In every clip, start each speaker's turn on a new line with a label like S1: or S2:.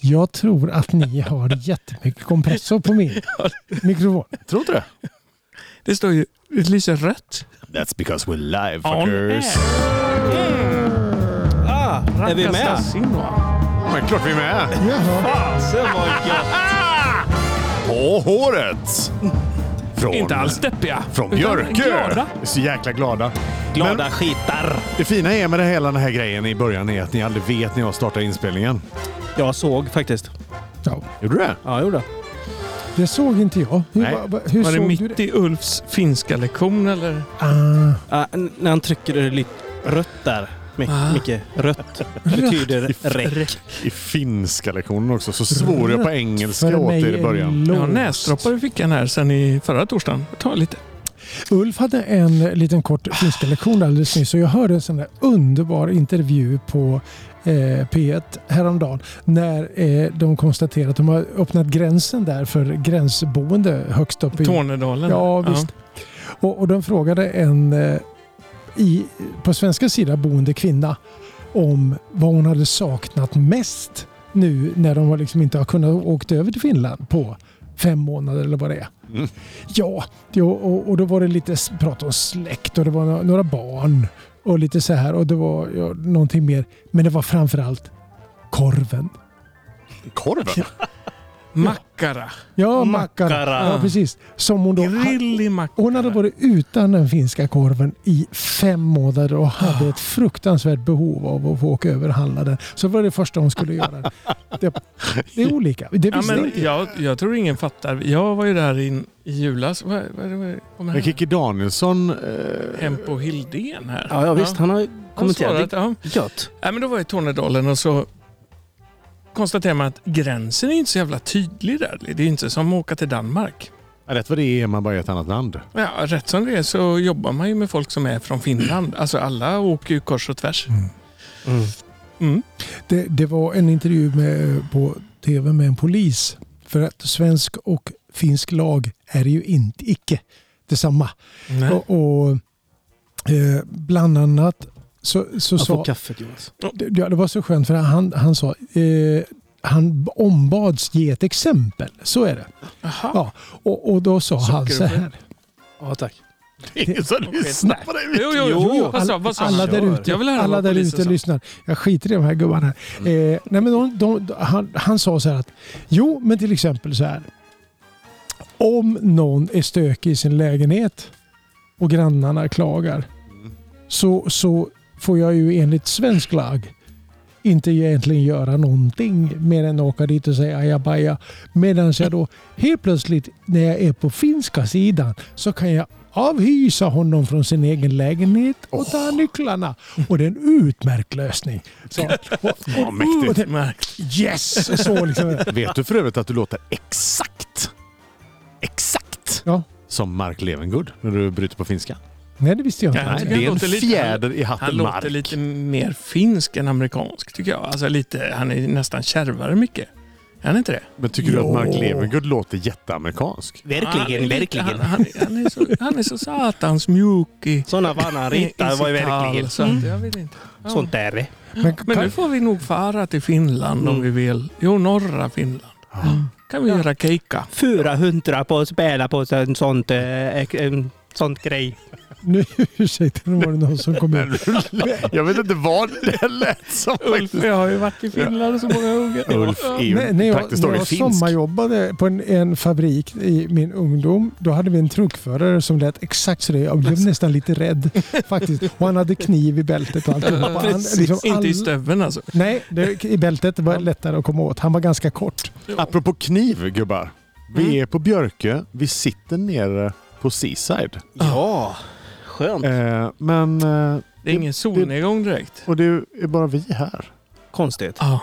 S1: Jag tror att ni har jättemycket kompressor på min mikrofon.
S2: Tror inte det?
S3: Det står ju, det lyser rött.
S2: That's because we're live
S3: On
S2: fuckers.
S4: Ah, är vi med?
S2: Men klart vi är med.
S1: Jaha.
S4: Fasen vad gött!
S2: Och håret! Från,
S3: Inte alls deppiga.
S2: Från
S3: utan
S2: Björkö.
S3: Glada.
S2: Så jäkla glada.
S4: Glada
S2: Men-
S4: skitar!
S2: Det fina är med det hela den här grejen i början är att ni aldrig vet när jag startar inspelningen.
S4: Jag såg faktiskt.
S1: Ja,
S2: Gjorde du det?
S4: Ja, jag gjorde.
S1: det såg inte jag. Hur,
S2: Nej.
S1: va- va- hur
S3: Var det
S1: såg
S3: mitt
S1: du det?
S3: i Ulfs finska lektion eller?
S1: Ah,
S4: Ah, n- när han trycker det lite rött där. Mi-
S3: Ah.
S4: Micke, rött betyder räck.
S2: I finska lektionen också så svor jag på engelska
S1: för
S2: åt
S1: mig
S2: er i
S1: är
S2: början.
S3: Jag har
S1: låst.
S3: näsdroppar i fickan här sen i förra torsdagen. Jag tar lite.
S1: Ulf hade en liten kort finska lektion alldeles nyss och jag hörde en sån där underbar intervju på eh, P1 häromdagen när eh, de konstaterar att de har öppnat gränsen där för gränsboende högst upp i
S3: Tornedalen.
S1: Ja, visst. Och, och de frågade en eh, i, på svenska sidan boende kvinna om vad hon hade saknat mest nu när de har liksom inte har kunnat åkt över till Finland på fem månader eller vad det är.
S2: Mm.
S1: Ja, det- och, och då var det lite s- prat om släkt och det var några, några barn och lite så här och det var ja, någonting mer. Men det var framförallt korven.
S2: Korven?
S3: Mackara.
S1: Ja,
S4: Mackara.
S1: mackan. Ja, precis. Som hon då...
S3: Grillig mackara.
S1: Hon hade varit utan den finska korven i fem månader och hade ett fruktansvärt behov av att få åka över och handla den. Så det var det första hon skulle göra. Det, det är olika. Det
S3: Ja,
S1: visste
S3: men
S1: inte jag.
S3: jag, jag tror ingen fattar. Jag var ju där in, i julas. Vad vad- vad- kom
S2: Men
S3: här?
S2: Kikki Danielsson... Eh,
S3: Hem på Hildén här.
S4: Ja, ja, visst. Han har
S3: svarade
S4: kommenterat.
S3: att, ja.
S4: Det är gött.
S3: Nej, men då var jag i Tornedalen och så konstaterar man att gränsen är inte så jävla tydlig där. Det är inte som att åka till Danmark.
S2: rätt vad det är man bara i ett annat land.
S3: Ja, rätt som det är så jobbar man ju med folk som är från Finland. Alltså alla åker ju kors och tvärs. Mm.
S1: Det, det var en intervju med, på tv med en polis. För att svensk och finsk lag är ju inte icke detsamma.
S3: Nej.
S1: Och, och, eh, bland annat så, så
S4: Jag får
S1: sa...
S4: kaffet Jonas.
S1: Det, ja, det var så skönt för han, han sa... Eh, han ombads ge ett exempel. Så är det.
S3: Aha.
S1: Ja, och, och då sa han så
S3: Sockerbröd.
S1: här.
S4: Ja, tack.
S2: Ingen som
S3: Okej,
S2: lyssnar på dig.
S3: Jo, jo, jo.
S4: Jo,
S3: Vad sa- vad sa
S1: alla
S3: han?
S1: där ute,
S3: Jag vill höra
S1: alla
S3: vad
S1: där
S3: polisen
S1: ute
S3: sa.
S1: lyssnar. Jag skiter i de här gubbarna.
S4: Mm.
S1: Eh, nej men de, de, han, han sa så här att, jo men till exempel så här. Om någon är stökig i sin lägenhet och grannarna klagar så, så får jag ju enligt svensk lag inte egentligen göra någonting mer än åka dit och säga ajabaja. Medan jag då helt plötsligt när jag är på finska sidan så kan jag avhysa honom från sin egen lägenhet och ta
S3: Oh.
S1: nycklarna. Och det är en utmärkt lösning. Så, och,
S2: Ja,
S1: och, och
S2: mäktigt.
S1: det, yes! Och så liksom.
S2: Vet du för övrigt att du låter exakt, exakt
S1: Ja.
S2: som Mark Levengood när du bryter på finska?
S1: Nej, det visste jag inte.
S3: Ja.
S2: Nej,
S3: tycker
S2: det
S3: han
S2: är en
S3: låter lite-
S2: fjäder i hatten
S3: Han
S2: Mark.
S3: låter lite mer finsk än amerikansk tycker jag. Alltså lite, han är nästan kärvare mycket. Är han inte det?
S2: Men tycker du
S1: Jo.
S2: att Mark Levengood låter jätteamerikansk?
S3: han är
S4: Verkligen,
S3: lite-
S4: verkligen.
S3: Han, han, han, är så, han är så satans mjuk i,
S4: Sådana var han
S3: i, i
S4: ritar var ju
S3: sitt tal,
S4: verkligen. Mm.
S3: Så att, jag vet inte. Ja.
S4: Sånt är det.
S1: Men,
S3: Men nu får vi nog fara till Finland
S4: Mm.
S3: om vi vill. Jo, norra Finland. kan vi göra keika.
S4: 400 på att spela på en sånt, eh, en sånt grej.
S1: nu, ursäkta, nu var det någon som kom in.
S2: Jag vet inte vad det lät som
S3: Ulf och
S2: faktiskt.
S3: jag har ju varit i Finland så många gånger.
S2: Ulf E- är ju
S1: Nej, när jag,
S2: praktiskt
S1: när jag
S2: taget finsk.
S1: sommarjobbade på en, en fabrik i min ungdom, då hade vi en truckförare som lät exakt så det. Jag blev nästan lite rädd faktiskt. Och han hade kniv i bältet och alltihopa. Han, liksom
S4: Precis,
S3: Inte i
S1: all-
S3: stöveln alltså.
S1: Nej, det, i bältet var lättare att komma åt. Han var ganska kort.
S2: Apropå kniv gubbar. Vi
S3: Mm.
S2: är på Björkö. Vi sitter nere på Seaside.
S4: Ja, skönt.
S2: Eh, men... Eh,
S3: Det är ingen solnedgång direkt.
S2: och det är bara vi här.
S4: Konstigt.
S3: Ja,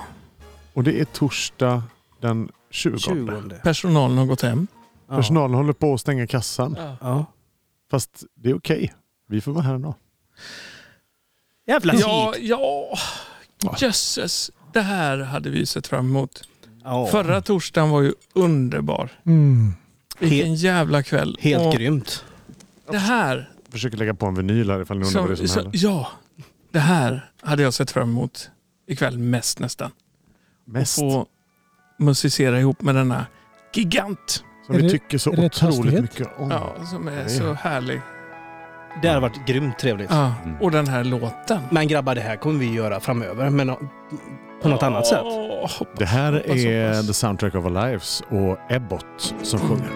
S2: Och det är torsdag den 20.
S4: 20.
S3: personalen har gått hem.
S4: Ja.
S2: Personalen håller på att stänga kassan.
S4: Ja.
S2: Fast det är okej. Vi får vara här ändå.
S4: Jävla
S3: Ja,
S4: skit.
S3: ja. Jösses. Det här hade vi sett fram emot.
S4: Ja.
S3: Förra torsdagen var ju underbar.
S1: Mm.
S3: Vilken jävla kväll.
S4: Helt
S3: Och
S4: grymt.
S3: Det här.
S2: Försöker lägga på en vinyl här ifall ni undrar vad det är
S3: Som,
S2: som
S3: som,
S2: händer.
S3: ja, det här hade jag sett fram emot ikväll mest nästan.
S2: Mest.
S3: Få musicera ihop med denna gigant.
S2: Som
S1: Är
S2: vi
S1: det-
S2: tycker så
S1: är det
S2: otroligt
S1: hastighet?
S2: mycket om.
S3: Ja, som är
S2: Nej.
S3: så härlig.
S4: Det hade varit grymt trevligt.
S3: Ja,
S2: Mm.
S3: och den här låten.
S4: Men grabbar, det här kommer vi göra framöver. Men eh, på något annat sätt.
S3: Åh, hoppas-
S2: Det här
S3: hoppas,
S2: är
S3: hoppas.
S2: The Soundtrack of Our Lives och Ebbot som sjunger.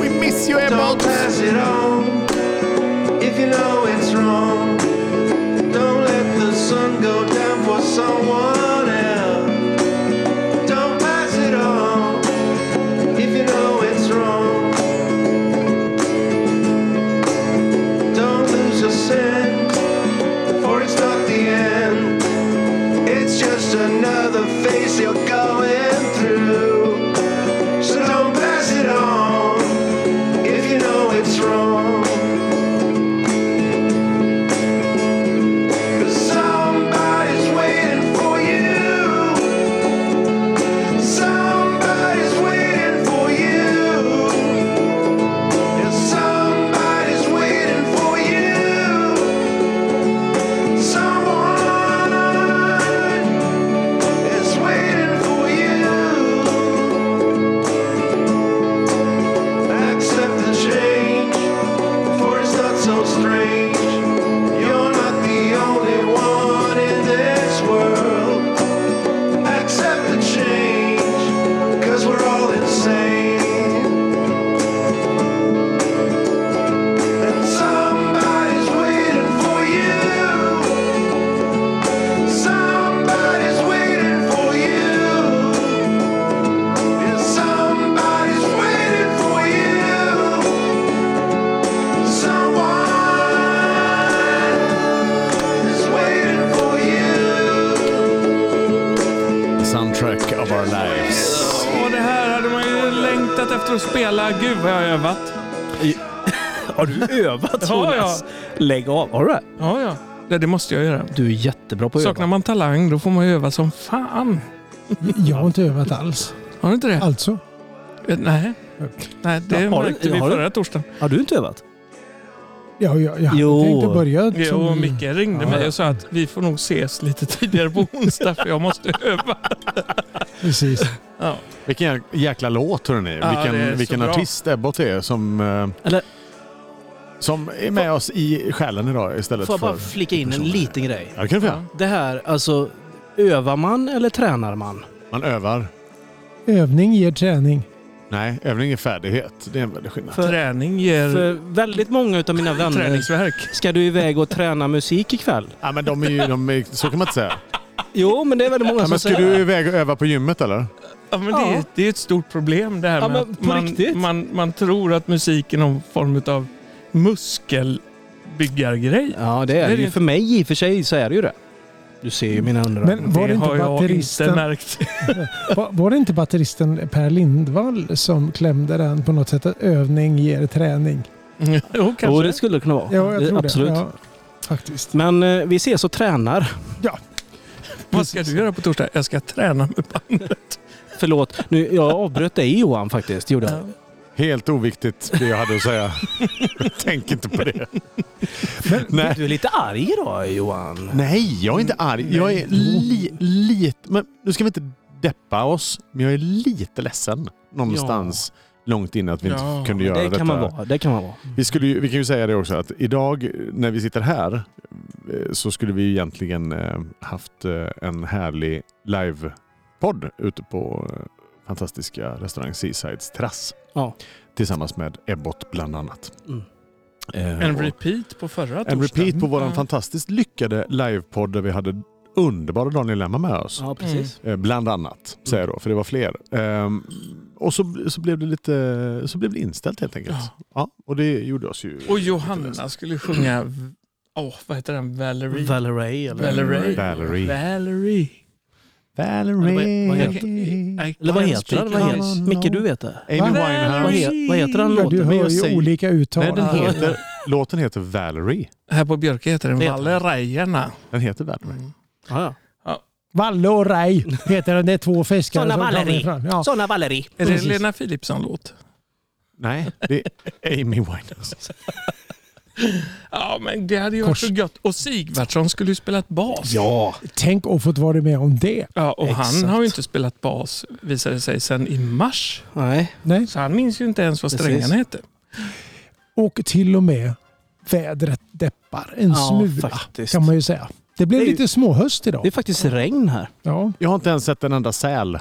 S2: We miss you
S5: Don't pass it on if you know it's wrong. Don't let the sun go down for someone else. Don't pass it on if you know it's wrong. Don't lose your sense, for it's not the end. It's just another phase you're going through. So don't pass it on if you know it's wrong. 'Cause somebody's waiting for you. Somebody's waiting for you. Yeah, somebody's waiting for you. Someone is waiting for you. Accept the change, for it's not so strange. You're not the only one in this world. Accept the change, cause we're all insane. And somebody's waiting for you. Somebody's waiting for you. Yeah, somebody's waiting for you. Someone is waiting for you.
S2: The Soundtrack of Our Lives.
S3: Åh, det här hade man ju längtat efter att spela. Gud vad jag har övat.
S4: Har du övat
S3: Ja,
S4: Jonas? Lägg av. All right.
S3: Ja, ja. Det, det måste jag göra.
S4: Du är jättebra på att
S3: Saknar
S4: öva.
S3: man talang då får man ju öva som fan.
S1: Jag har inte övat alls.
S3: Har du inte det?
S1: Alltså.
S3: Eh, Nej. Nej, det
S4: Ja, har du-
S3: märkte vi
S4: har du-
S3: förra torsdagen.
S4: Har du inte övat?
S1: Jag, jag, jag
S4: Jo.
S1: tänkte börja
S3: Jo, och Micke ringde
S1: Ja,
S3: mig
S1: ja.
S3: och sa att vi får nog ses lite tidigare på onsdag för jag måste öva.
S1: Precis.
S3: Ja.
S2: Vilken jä- jäkla låt hörni.
S3: Ja, det är
S2: vilken
S3: så
S2: vilken
S3: bra.
S2: artist Ebbot är som, eh,
S4: Eller-
S2: som är med oss i själen idag istället
S4: Får jag bara
S2: för...
S4: flika in en
S2: personer.
S4: liten grej?
S2: Ja, det kan du få
S4: Det här, alltså, övar man eller tränar man?
S2: Man övar.
S1: Övning ger träning.
S2: Nej, övning är färdighet. Det är en väldig skillnad.
S4: För-
S3: Träning ger
S4: För väldigt många av mina vänner
S3: träningsverk.
S4: ska du iväg och träna musik ikväll.
S2: Ja, men de är ju, de är, så kan man inte säga.
S4: Jo, men det är väldigt många
S2: Ja,
S4: som
S2: men ska
S4: säger
S2: du
S4: det.
S2: iväg och öva på gymmet eller?
S3: Ja, men
S4: Ja.
S3: Det, är, det är ett stort problem det här
S4: Ja,
S3: med
S4: men
S3: att
S4: på riktigt.
S3: man, man, man tror att musik är någon form av muskelbyggargrej.
S4: Ja, det
S3: är
S4: är det
S3: det
S4: ju.
S3: inte.
S4: För mig i och för sig så är det ju det. Du ser ju mina underögon.
S1: Men var det, inte
S3: har jag inte
S1: batteristen,
S3: märkt.
S1: var, var det inte batteristen Per Lindvall som klämde den på något sätt? Att övning ger träning.
S3: jo,
S4: Jo,
S3: kanske.
S4: det skulle det kunna vara.
S1: Ja, jag
S4: Det-
S1: tror
S4: Absolut.
S1: det. Ja, faktiskt.
S4: Men eh, vi ses och tränar.
S3: Vad ska du göra på torsdag? Jag ska träna med bandet.
S4: Förlåt, nu, jag avbröt dig Johan faktiskt. Gjorde jag.
S2: Helt oviktigt det jag hade att säga. Tänk inte på det. nej.
S4: Du är lite arg idag Johan.
S2: Nej, jag är inte arg. Jag är li, lite... Men nu ska vi inte deppa oss, men jag är lite ledsen någonstans långt innan att vi inte
S3: Ja,
S2: kunde göra
S4: det
S2: detta.
S4: kan man vara. Det kan man vara.
S2: Vi, skulle ju, vi kan ju säga det också att idag när vi sitter här eh, så skulle vi egentligen eh, haft eh, en härlig livepodd ute på eh, fantastiska restaurang Seasides terrass.
S4: Ja.
S2: Tillsammans med Ebbot bland annat.
S4: Mm.
S2: Eh,
S3: En
S2: och-
S3: repeat på förra
S2: en
S3: torsdagen.
S2: repeat på
S4: Mm.
S2: våran
S3: Ja.
S2: fantastiskt lyckade livepodd där vi hade underbara Daniel Lemma med oss.
S4: Ja, precis.
S2: Eh, Bland annat, säger jag då, för det var fler. Ehm, och så, så, blev det lite, så blev det inställt helt enkelt. Ja. och det gjorde oss ju...
S3: Och
S2: lite
S3: Johanna skulle sjunga... Åh, vad heter den?
S2: Mm.
S3: Valerie.
S4: Valerie eller...
S3: Valerie.
S2: Valerie.
S3: Valerie.
S2: Valerie.
S4: Vad heter-
S3: I
S4: Eller vad
S3: can't
S4: heter den?
S3: speak
S4: Vad
S3: English.
S4: heter- Micke, du vet det.
S2: Amy
S4: Vad,
S2: Winehouse.
S4: he, vad heter den
S1: Ja, du
S4: låten?
S1: hör
S2: jag
S1: ju
S2: säger-
S1: olika uttal.
S2: Nej, den
S4: Ja.
S2: heter, låten heter Valerie.
S3: Här på Björke heter den
S4: Det heter den.
S3: Valerierna.
S2: Den heter Valerie.
S3: Mm.
S4: Ja, ja.
S1: Valle och Rej heter den. Det är två fiskar.
S4: Såna
S1: som kommer
S4: Valerie.
S1: fram. Ja.
S4: Såna Valerie.
S3: Är det
S1: Precis.
S3: Lena Philipsson-låt?
S2: Nej, det är Amy Winehouse.
S3: Ja, men det hade ju varit
S1: Kors.
S3: så gött. Och Sigvardsson skulle ju spelat bas.
S2: Ja,
S1: Tänk att fått vara med om det.
S3: Ja, och han
S1: Exakt.
S3: har ju inte spelat bas visade det sig sedan i mars.
S4: Nej.
S1: Nej.
S3: Så han minns ju inte ens vad
S4: Precis.
S3: strängarna hette.
S1: Och till och med vädret deppar en
S4: Ja,
S1: smula
S4: faktiskt.
S1: kan man ju säga. Det blev
S4: Det är ju-
S1: lite småhöst idag.
S4: Det är faktiskt regn här.
S1: Ja.
S2: jag har inte ens sett en enda säl.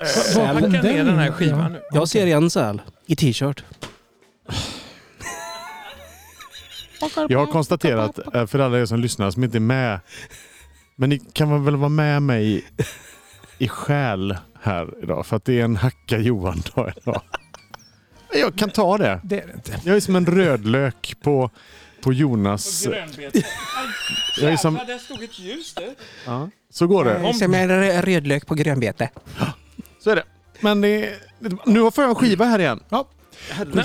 S1: Var
S4: Sälen.
S1: kom
S3: Packa ner den här
S1: Ja.
S3: skivan nu.
S4: Jag ser en säl i t-shirt.
S2: Jag har konstaterat, eh, för alla er som lyssnar som inte är med, men ni kan väl vara med mig i själ här idag, för att det är en hacka Johan-dag idag. Jag kan ta det.
S1: Det är det inte.
S2: Jag är som en rödlök på, på Jonas. Jag är som,
S3: där stod ett ljus där.
S2: ja, så går det.
S3: Som
S4: en rödlök på grönbete.
S2: Så är det. Men det är, nu får jag en skiva här igen.
S1: Ja.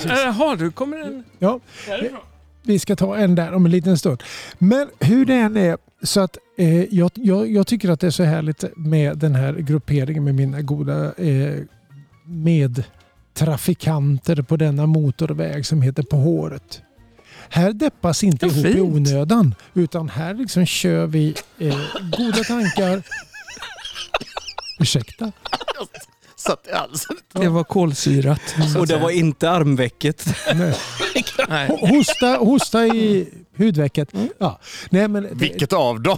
S3: Jaha, eh, du kommer den
S1: Ja.
S3: därifrån?
S1: Vi ska ta en där om en liten stund. Men hur det än är, så att, eh, jag, jag, jag tycker att det är så härligt med den här grupperingen med mina goda eh, medtrafikanter på denna motorväg som heter På håret. Här deppas inte
S3: Ja,
S1: ihop i
S3: fint.
S1: onödan utan här liksom kör vi eh, goda tankar. Ursäkta?
S2: Satt i halsen.
S3: Det var kolsyrat.
S4: Och det var inte armvecket.
S1: Nej.
S3: Nej.
S1: Hosta, hosta i hudvecket.
S3: Mm.
S1: Ja. Nej, men det-
S2: Vilket av dem?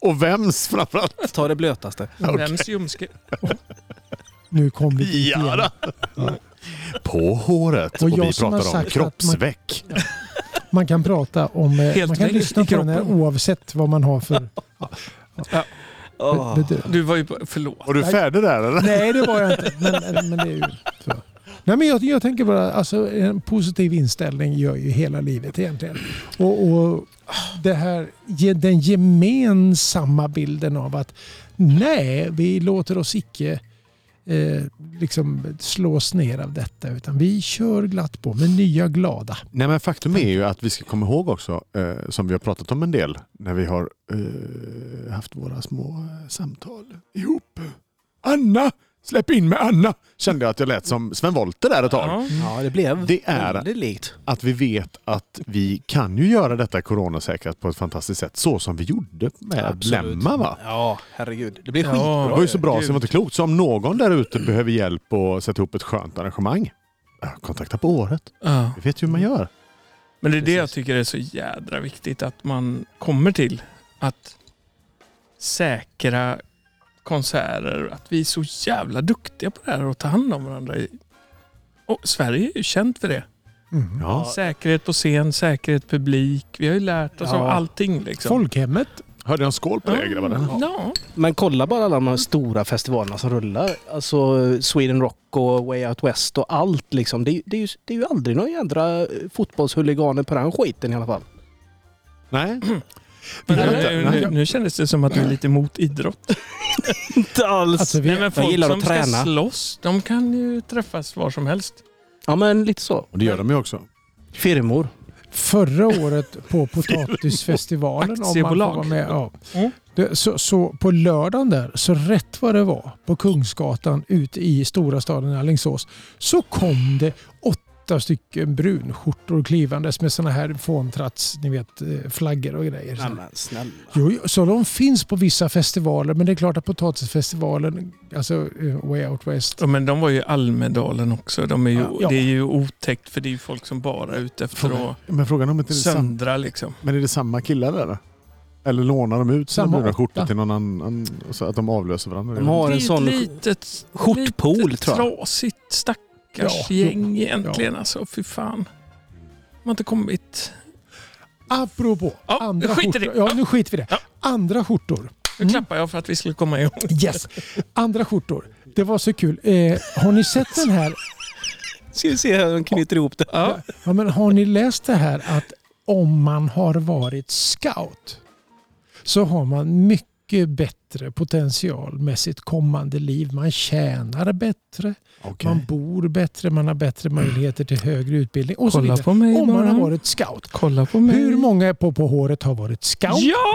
S2: Och vems framförallt?
S4: Ta det blötaste.
S3: Vems ljumske?
S1: nu kom vi dit igen.
S2: Jada. På håret.
S1: Och
S2: Och,
S1: jag
S2: vi
S1: som har
S2: pratar
S1: sagt
S2: om
S1: att
S2: kroppsväck.
S1: Man kan prata om... eh,
S3: Helt
S1: man kan
S3: vägg
S1: lyssna
S3: i
S1: på den här
S3: kroppen.
S1: oavsett vad man har för
S3: Ah.
S4: Åh.
S1: bedöv.
S3: Du var ju på, förlåt.
S2: Var du färdig där eller?
S1: Nej, det var jag inte. Men, men det är ju så. Nej, men jag, jag tänker bara, alltså, en positiv inställning gör ju hela livet egentligen. Och, och det här, ge- den gemensamma bilden av att nej, vi låter oss icke eh, liksom slås ner av detta. Utan vi kör glatt på med nya glada.
S2: Nej men faktum är ju att vi ska komma ihåg också, eh, som vi har pratat om en del när vi har eh, haft våra små eh, samtal ihop. Anna! Släpp in med Anna! Kände jag att jag lät som Sven Wollter där ett tag.
S3: Ja.
S4: Ja, det blev
S2: Det är-
S4: väldigt likt.
S2: Att vi vet att vi kan ju göra detta coronasäkrat på ett fantastiskt sätt så som vi gjorde med Lemma va?
S4: Ja, herregud. Det blir
S3: Ja.
S2: Det
S4: skitbra.
S2: var ju så bra
S3: Gud.
S2: så det var inte klokt. Så om någon där ute behöver hjälp och sätta ihop ett skönt arrangemang, ja, kontakta på året.
S3: Ja.
S2: Vi vet ju hur man gör.
S3: Men det är det jag tycker är så jädra viktigt att man kommer till. Att säkra konserter. Att vi är så jävla duktiga på det här att ta hand om varandra. i- Och Sverige är ju känt för det. Mm.
S2: Ja.
S3: Säkerhet på scen, säkerhet publik. Vi har ju lärt oss
S4: Ja.
S3: av allting. Liksom.
S1: Folkhemmet
S2: Hörde jag en skål på det grabbarna?
S3: Ja. Ja.
S4: Men kolla bara alla de här stora festivalerna som rullar. Alltså Sweden Rock och Way Out West och allt liksom. Det, är ju- det, är, ju, det är ju aldrig någon jädra eh, fotbollshuliganer på den skiten i alla fall.
S2: Nej.
S3: Men
S2: Nej,
S3: nu,
S2: nej.
S3: nu, nu kändes det som att du är lite emot idrott.
S4: Inte alls!
S1: Alltså, vi,
S3: Nej, men folk
S4: gillar att
S3: som ska
S4: träna.
S3: slåss, de kan ju träffas var som helst.
S4: ja men lite så.
S2: Och det gör de ju också.
S4: Firmor.
S1: förra året på potatisfestivalen om man får
S3: Aktiebolag.
S1: vara med. Ja.
S3: Mm.
S1: Det, så, så på lördagen där, så rätt vad det var på Kungsgatan ute i stora staden Alingsås så kom det åtta stycken brunskjortor klivandes med sådana här fåntratts, ni vet eh, flaggor och grejer.
S4: Ja, men snälla.
S1: Jo, jo, så de finns på vissa festivaler men det är klart att potatisfestivalen, alltså eh, Way Out West,
S3: Ja, men de var ju i Almedalen också. De är ju,
S1: Ja.
S3: Det är ju otäckt för det är ju folk som bara är ute efter
S2: Frågan,
S3: att
S2: men frågan är om inte det är samma,
S3: söndra liksom.
S2: men är det samma killar där? eller? Eller lånar de ut sina
S1: Samma
S2: bruna skjortor
S1: åtta.
S2: till någon annan så att de avlöser varandra?
S4: De har
S3: Det är
S4: en
S3: ett
S4: sån...
S3: litet,
S4: skjortpool,
S3: litet
S4: tror jag.
S3: trasigt stackars
S1: Ja, jo,
S3: gäng egentligen. Alltså, fy fan. De har inte kommit.
S1: apropå
S3: Ja,
S1: andra
S3: skit i det.
S1: skjortor. Ja, nu skiter vi i det.
S3: Ja.
S1: Andra skjortor.
S3: Nu klappar jag för att vi skulle komma igång.
S1: Yes. Andra skjortor. Det var så kul. Eh, har ni sett den här?
S4: Ska vi se hur de knyter ihop det.
S3: Ja.
S1: Ja, men har ni läst det här att om man har varit scout så har man mycket bättre potential med sitt kommande liv. Man tjänar bättre,
S2: Okej.
S1: man bor bättre, man har bättre möjligheter till högre utbildning och så
S3: Kolla
S1: vidare.
S3: på mig
S1: Om man
S3: bara.
S1: har varit scout.
S3: Kolla på mig.
S1: Hur många på På håret har varit scout?
S3: Ja!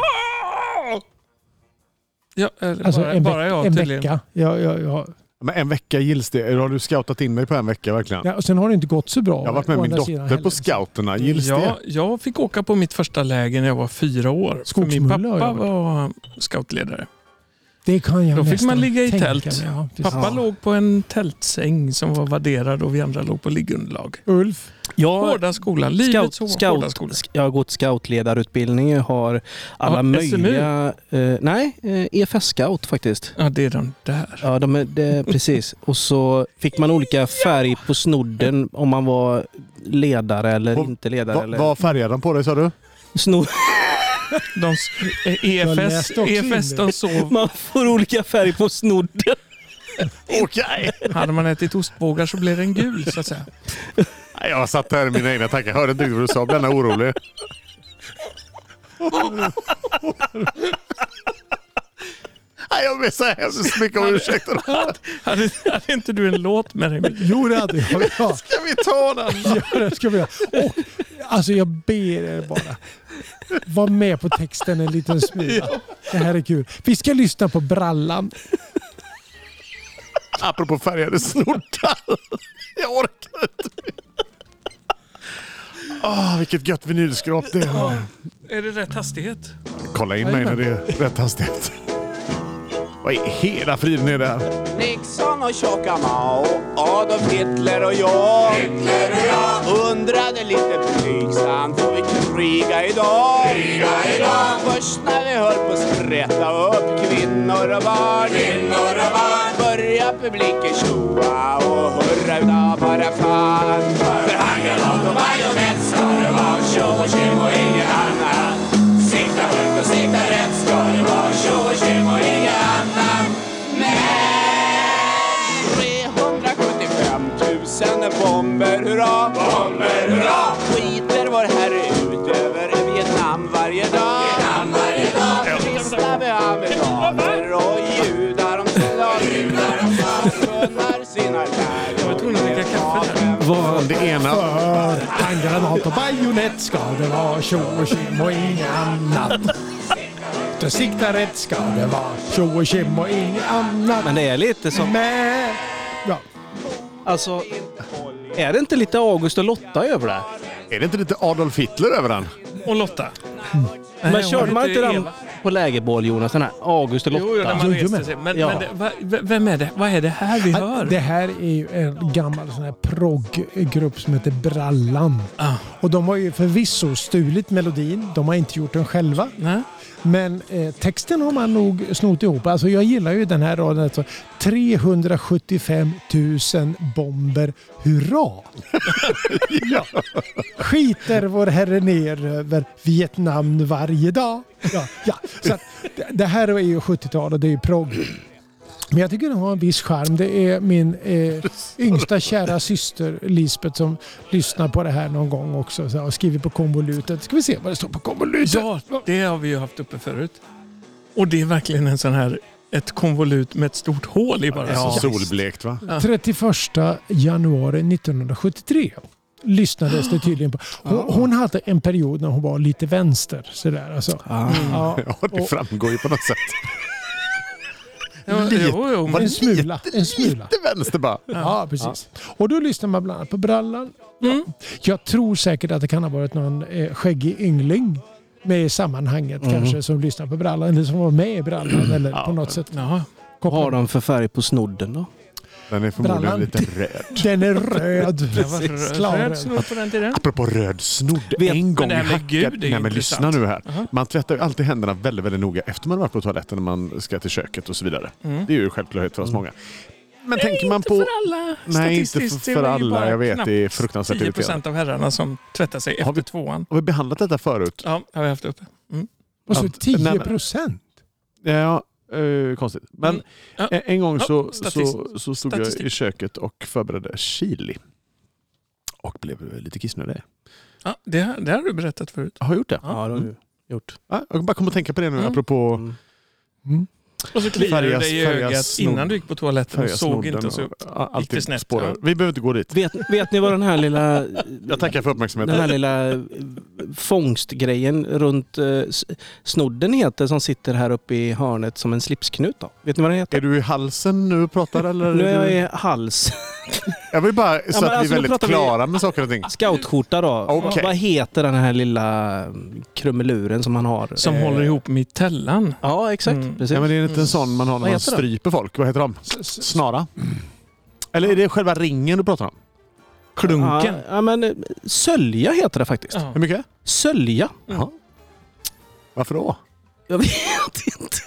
S3: Ja, eller
S1: Alltså
S3: bara,
S1: en, veck-
S3: bara jag
S1: Alltså, en
S3: tydligen.
S1: vecka. Ja, ja, ja.
S2: Men en vecka gills det. Har du scoutat in mig på en vecka verkligen?
S1: Ja, och sen har det inte gått så bra.
S2: Jag har varit med
S1: å
S2: min
S1: andra sidan
S2: dotter
S1: heller.
S2: på scouterna. Gills
S3: Jag,
S2: det?
S3: jag fick åka på mitt första läger när jag var fyra år. För Min
S1: Skogsmulla har
S3: pappa
S1: jag varit.
S3: var scoutledare.
S1: Det kan jag
S3: Då fick
S1: nästan
S3: man ligga i
S1: tänka
S3: tält.
S1: mig. Ja, precis.
S3: Pappa låg på en tältsäng som var värderad och vi andra låg på liggunderlag.
S1: Ulf,
S4: Jag,
S3: Hårda skola,
S4: scout,
S3: livets hårda
S4: scout,
S3: skola.
S4: sk- jag har gått scoutledarutbildning. Jag har alla
S3: Ja, SMU.
S4: möjliga... Eh, nej, eh, EFS-scout faktiskt.
S3: Ja, det är de där.
S4: Ja, de är, det, precis. Och så fick man olika färg på snodden om man var ledare eller
S2: Vad-
S4: inte ledare.
S2: Va,
S4: eller
S2: vad färgar den på dig sa du?
S4: Snod,
S3: De, s- eh,
S1: Jag
S3: EFS,
S1: läste också in
S3: EFS
S1: det.
S3: de sov.
S4: man får olika färg på snodden.
S2: Okej!
S3: Hade man ätit ostbågar så blev den gul så att säga.
S2: Nej, Jag satt här i mina egna tankar. Jag hörde inte riktigt vad du sa. Blev nästan orolig. Nej, jag ber så hemskt mycket om ursäkt.
S3: Hade, hade inte du en låt med dig? Micke?
S1: jo det hade jag. Ja,
S2: Ska vi ta den?
S1: ja, det ska vi göra. Och, alltså jag ber er bara. Var med på texten en liten smula. Det här är kul. Vi ska lyssna på Brallan.
S2: Apropå färgade snoddar. Jag orkar inte. Åh, vilket gött vinylskrap det är.
S3: Är det rätt hastighet?
S2: Kolla in mig när det är rätt hastighet. Vad i hela friden är det här?
S6: Nixon och tjocka Mao, Adolf Hitler och jag. Hitler och jag. Undrade lite blygsamt, får vi kriga idag? Kriga idag. Först när vi höll på att sprätta upp kvinnor och barn. Kvinnor och barn. Börja publiken tjoa och hurra utav bara fan. För han granat och bajonett ska det vara, tjo och tjim och inget annat. Sikta högt och sikta rätt ska det vara, tjo och tjim och inget annat. Men 375 000 bomber, hurra! Bomber, hurra! Skiter vår herre ut över Vietnam varje dag. Vietnam varje dag. Kristna med amerikaner och judar om soldater. Gunnar sina läror.
S3: var tvungen att dricka kaffe där.
S2: Fan, det ena...
S1: För handgranat och bajonett ska det vara tjo och tjim och inget annat. Då sikta rätt ska det vara tjo och tjim och inget annat.
S4: Men det är lite som...
S1: Men... Ja.
S4: Alltså, är det inte lite August och Lotta över det?
S2: Är det inte lite Adolf Hitler över den?
S3: Och Lotta? Nej,
S4: Mm. Men
S3: hon
S4: körde man inte
S3: heter
S4: den
S3: Eva.
S4: på lägerbål Jonas? Den här August och Lotta?
S3: Jo, jo, när man
S1: Jajamän.
S3: reste sig. Men,
S4: Ja.
S3: men det, va, v- vem är det? Vad är det här vi hör?
S1: Äh, Det här är ju en gammal sån här progggrupp som heter Brallan.
S3: Ah.
S1: Och de har ju förvisso stulit melodin. De har inte gjort den själva.
S3: Nej.
S1: Men eh, texten har man nog snott ihop. Alltså, jag gillar ju den här raden. Alltså, 375 000 bomber, hurra! ja. Skiter vår herre ner över Vietnam varje dag. Ja, ja. Så att, det- det här är ju 70-tal och det är ju progg. Men jag tycker den har en viss charm. Det är min eh, yngsta kära syster Lisbeth som lyssnar på det här någon gång också. Så jag har skrivit på konvolutet. Ska vi se vad det står på konvolutet?
S3: Ja, det har vi ju haft uppe förut. Och det är verkligen en sån här, ett konvolut med ett stort hål i bara.
S2: Ja. Solblekt va?
S1: 31 januari 1973 lyssnades det tydligen på. Hon, hon hade en period när hon var lite vänster. Sådär, alltså. ja,
S2: Ja, det
S1: och
S2: framgår ju på något sätt.
S3: Ja, jo, jo, men
S1: en smula. En smula.
S2: Till vänster bara.
S1: Ja, precis. Och då lyssnar man bland annat på Brallan. Jag tror säkert att det kan ha varit någon eh, skäggig yngling med i sammanhanget kanske som lyssnar på Brallan eller som var med i Brallan eller på något sätt.
S3: ja,
S4: Vad har
S1: kopplad.
S4: de för färg på snodden då?
S2: Den är förmodligen
S1: Brallan.
S2: lite röd.
S1: Den är röd.
S3: det var röd- röd
S1: Klarröd.
S3: snor på den tiden.
S2: Apropå röd snodd.
S4: Vet-
S2: en gång
S3: det här med
S2: hackad-
S3: Gud är ju
S2: Nej men lyssna
S3: intressant.
S2: nu här. Man tvättar ju alltid händerna väldigt, väldigt noga efter man har varit på toaletten när man ska till köket och så vidare.
S3: Mm.
S2: Det är ju självklart för oss många. Men tänker man på...
S3: För alla.
S2: Nej, inte
S3: Statistiskt,
S2: för-
S3: det
S2: för
S3: är ju
S2: alla.
S3: bara
S2: Jag vet,
S3: knappt
S2: det är fruktansvärt
S3: 10
S2: irriterande.
S3: av herrarna som tvättar sig
S2: Har
S3: efter
S2: vi-
S3: tvåan.
S2: Har vi behandlat detta förut?
S3: Ja, har vi haft uppe. Mm.
S1: Och så
S2: Att- nej,
S1: 10
S2: men-
S1: procent.
S2: Ja, eh, konstigt. Men
S3: Mm. Ja.
S2: en- en gång
S3: Ja,
S2: så,
S3: statist-
S2: så, så stod jag i
S3: statistik.
S2: köket och förberedde chili. Och blev lite kissnödig.
S3: Ja, det, har- det har du berättat förut.
S2: Har jag gjort det?
S3: Ja.
S4: det har du gjort.
S2: Ja, jag bara kom att tänka på det nu
S3: Mm.
S2: apropå
S4: Mm.
S3: Och så kliade du
S2: Färgas-
S3: dig i
S2: färgas
S3: ögat
S2: snor-
S3: innan du gick på toaletten och
S2: färga
S3: såg inte
S2: snodden.
S3: och så
S2: och- ja, Allt
S3: det snett,
S2: spårar.
S3: ja.
S2: Vi behöver inte gå dit.
S4: Vet, vet ni vad den här lilla...
S2: Jag tackar för
S4: Den
S2: uppmärksamheten.
S4: här lilla eh, fångstgrejen runt eh, s- snodden heter som sitter här uppe i hörnet som en slipsknut. Då. Vet ni vad den heter?
S2: Är du i halsen nu och pratar eller?
S4: Nu är jag
S2: du...
S4: i hals.
S2: jag vill bara så
S4: men
S2: att
S4: alltså,
S2: vi
S4: nu
S2: är väldigt
S4: pratar vi-
S2: klara med saker och ting.
S4: Scoutskjorta då.
S2: Okej.
S4: Vad heter den här lilla mm, krumeluren som han har?
S3: Som
S4: Eh,
S3: håller ihop mittellan.
S4: Ja, exakt.
S3: Mm.
S4: Precis.
S2: Ja, men det är inte en sån man har när
S4: Vad
S2: man
S4: heter de?
S2: stryper folk. Vad heter de? Snara? Eller är det själva ringen du pratar om?
S3: Klunken.
S4: Ja, ja, men eh, sölja heter det faktiskt.
S3: Ja. Mm.
S2: Hur mycket?
S4: Sölja.
S2: Jaha. Varför då?
S4: Jag vet inte.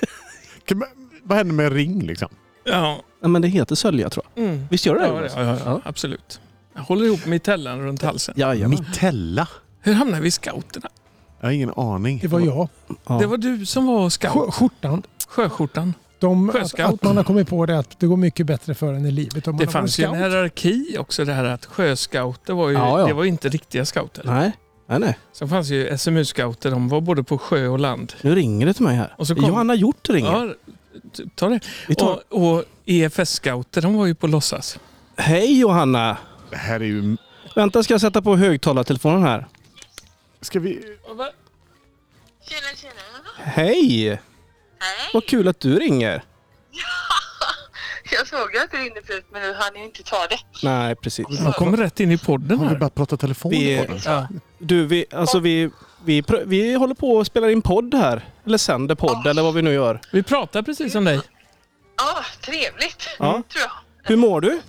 S2: Kan man- Vad händer med en ring liksom?
S3: Ja.
S4: Ja, men det heter sölja tror jag.
S3: Mm.
S4: Visst gör det det?
S3: Ja, ja, ja, ja, absolut. Jag håller ihop mittellan runt halsen.
S4: Jajamän.
S2: Mitella?
S3: Hur hamnade vi i scouterna?
S2: Jag har ingen aning.
S1: Det var jag.
S4: Ja.
S3: Det var du som var scout.
S1: Sk- Skjortan.
S3: Sjöskjortan.
S1: De, att,
S3: Sjöscout.
S1: att man har kommit på det att det går mycket bättre för en i livet om man
S3: Det
S1: har
S3: fanns ju
S1: varit
S3: en
S1: scout.
S3: hierarki också. Det här att sjöscouter var ju,
S4: Ja, ja.
S3: Det var ju inte riktiga scouter.
S4: Nej. Nej, nej.
S3: Sen fanns ju SMU-scouter. De var både på sjö och land.
S4: Nu ringer det till mig här.
S3: Och så kom-
S4: Johanna Hjort ringer.
S3: Ja, t- ta det.
S4: Vi tar...
S3: Och, och EFS-scouter, de var ju på låtsas.
S4: Hej Johanna!
S2: Det här är ju...
S4: Vänta ska jag sätta på högtalartelefonen här.
S2: Ska vi...
S7: Tjena, tjena.
S4: Hej!
S7: Hej.
S4: Vad kul att du ringer.
S7: Jag såg ju att du ringde förut, men nu hann jag inte ta det.
S4: Nej, precis.
S3: De kom rätt in i podden
S2: Har vi
S3: här.
S2: bara pratat telefon?
S4: Vi-
S2: på den?
S3: Ja.
S4: Du, vi, alltså, vi, vi, pr- vi håller på och spelar in podd här. Eller sänder podd eller vad vi nu gör.
S3: Vi pratar precis om dig.
S7: Ja, trevligt.
S4: Ja.
S7: Tror jag.
S4: Hur mår du?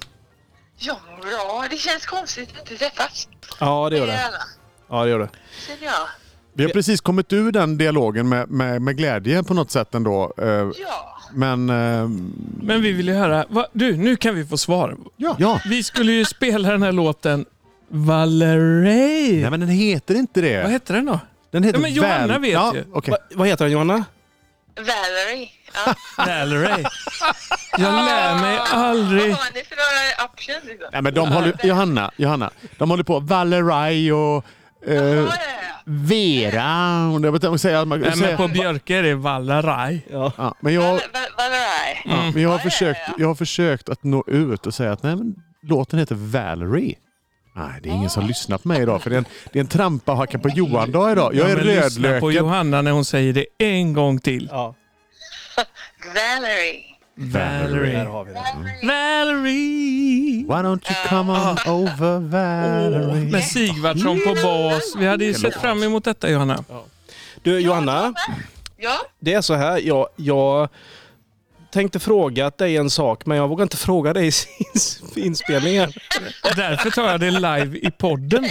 S7: Ja, bra. Det känns konstigt att inte träffas.
S4: Ja, det gör det.
S7: Gärna,
S4: Ja, det gör det.
S7: känner jag.
S2: Vi har precis kommit ur den dialogen med, med, med glädje på något sätt ändå. Eh,
S7: Ja.
S2: Men... eh,
S3: Men vi vill ju höra. Va? Du, nu kan vi få svar.
S2: Ja. ja.
S3: Vi skulle ju spela den här låten Valerie.
S2: Nej men den heter inte det.
S3: Vad heter den då?
S2: Den heter
S3: Ja, men Johanna
S2: väl-
S3: vet
S2: ja,
S3: ju.
S2: okej.
S4: Va, vad heter den Johanna?
S7: Valerie. Ja.
S3: Valerie. Jag lär mig aldrig.
S7: Vad har ni för några options? Liksom?
S2: Nej, men de håller, Johanna, Johanna, de håller på Valerie och eh,
S7: Ja, ja, ja.
S2: Vera. Och det- jag tänkte säga att man-
S3: Nej, men
S2: säga-
S3: på Björke är det Valerie.
S4: Ja.
S2: ja, men jag,
S7: Va- va- Valerie.
S2: ja, men jag, har
S7: Ja, ja,
S2: försökt,
S7: ja.
S2: jag har försökt att nå ut och säga att nej, men, låten heter Valerie. Nej, det är ingen som
S7: Ah.
S2: lyssnar på mig idag för det är en, det är en trampa och hacka på Johan-dag idag. Jag
S3: Ja,
S2: är
S3: men Lyssna på
S2: rödlöken.
S3: Johanna när hon säger det en gång till.
S4: ja.
S7: Valerie.
S2: Valerie.
S4: Där har vi det.
S7: Valerie.
S3: Valerie.
S2: Why don't you come on
S7: Ah.
S2: over
S3: Åh,
S2: Valerie?
S3: med Sigvardsson på bas. Vi hade ju sett fram emot detta Johanna.
S4: Du Johanna,
S7: Ja,
S4: det är så här. Jag, jag tänkte fråga dig en sak men jag vågar inte fråga dig i ins- inspelningen.
S3: Därför tar jag det live i podden nu.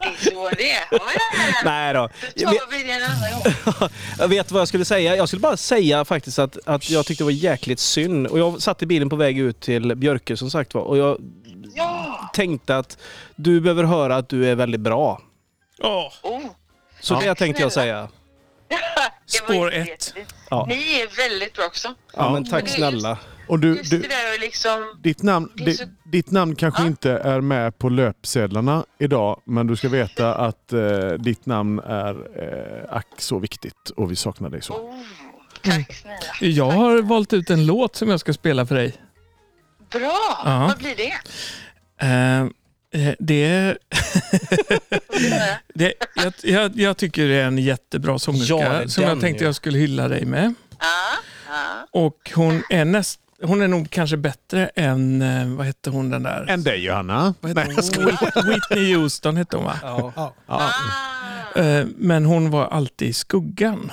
S7: det är så det är. Ja, ja, ja.
S4: Nej då.
S7: Då tar vi det en annan gång.
S4: Jag vet vad jag skulle säga. Jag skulle bara säga faktiskt att, att jag tyckte det var jäkligt synd. Och jag satt i bilen på väg ut till Björke som sagt var. Och jag
S7: Ja.
S4: tänkte att du behöver höra att du är väldigt bra.
S3: Oh,
S7: Oh.
S4: Så det tänkte jag säga.
S7: Det var
S3: Spår
S7: inte
S3: ett.
S7: jättefint.
S4: Ja.
S7: Ni är väldigt bra också.
S4: Ja, men tack snälla.
S2: Och du,
S7: Oh. Just
S2: du,
S7: det där och liksom...
S2: Ditt namn,
S7: Det är
S2: di,
S7: så- Ah.
S2: ditt namn kanske inte är med på löpsedlarna idag, men du ska veta att eh, ditt namn är eh, ack så viktigt och vi saknar dig så.
S7: Oh, tack snälla.
S3: jag har valt ut en låt som jag ska spela för dig.
S7: Bra!
S3: Ja.
S7: Vad blir det?
S3: Eh, eh, det,
S7: Höra.
S3: det, jag, jag, jag tycker det är en jättebra sångerska
S4: Ja, den
S3: som jag tänkte
S4: ju.
S3: jag skulle hylla dig med.
S7: Ja, ja.
S3: Och hon är, näst, hon är nog kanske bättre än, eh, vad hette hon den där?
S2: Än dig Johanna.
S3: vad hette hon? Whit- Whitney Houston hette hon va?
S1: Ja.
S7: Ah.
S3: Eh, Men hon var alltid i skuggan.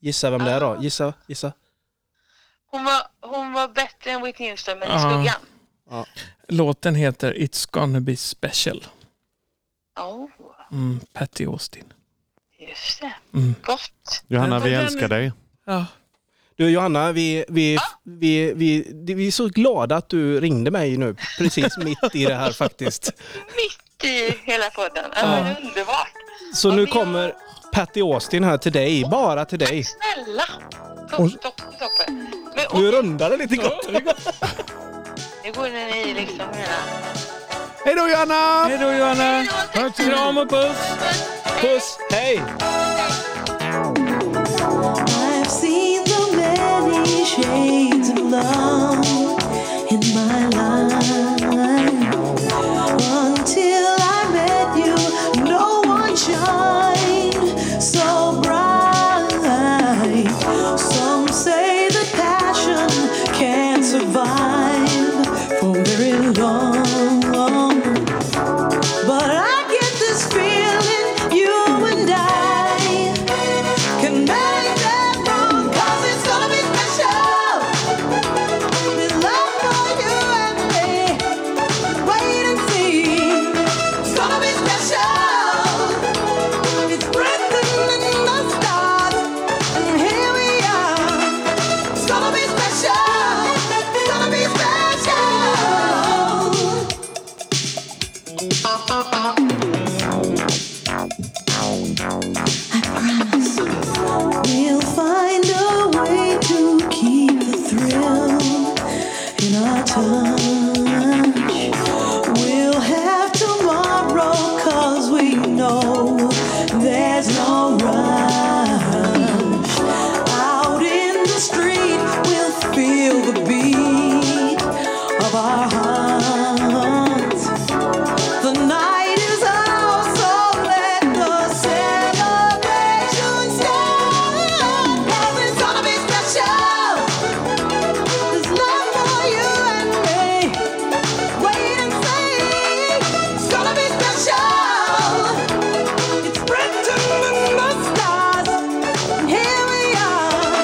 S4: Gissa vem det är då? Gissa, gissa.
S7: Hon, var, hon var bättre än Whitney Houston, men
S3: Ja.
S7: i skuggan.
S3: Låten heter It's gonna be special.
S7: Oh,
S3: Mm, Patty Austin.
S7: just det.
S3: Mm.
S7: Gott.
S2: Johanna, vi
S3: Den-
S2: älskar dig.
S3: Ja.
S4: Du Johanna, vi, vi, vi, vi, vi, vi är så glada att du ringde mig nu precis mitt i det här faktiskt.
S7: Mitt i hela podden. Ja, men underbart.
S4: Så nu kommer Patty Austin här till dig, bara till dig.
S7: Snälla!
S1: Och-
S7: Topp, topp, toppen. Men och,
S4: Nu rundar det lite gott.
S7: nu går den i liksom hela...
S2: Hej då Johanna!
S3: Hej då Johanna! Kram och puss!
S4: Puss, hej!
S8: I've seen the many shades of love in my life. Until I met you, no one should show. It's written in the stars, and here we are. It's gonna be special. It's gonna be special. We'll find a way to keep the thrill in our touch. We'll have tomorrow, cause we know there's no rush. Out in the street, we'll feel the beat of our hearts. The night is ours, so let the celebration start. 'Cause it's gonna be special. There's love for you and me. Wait and see. It's gonna be special. It's written in the stars, and here we are.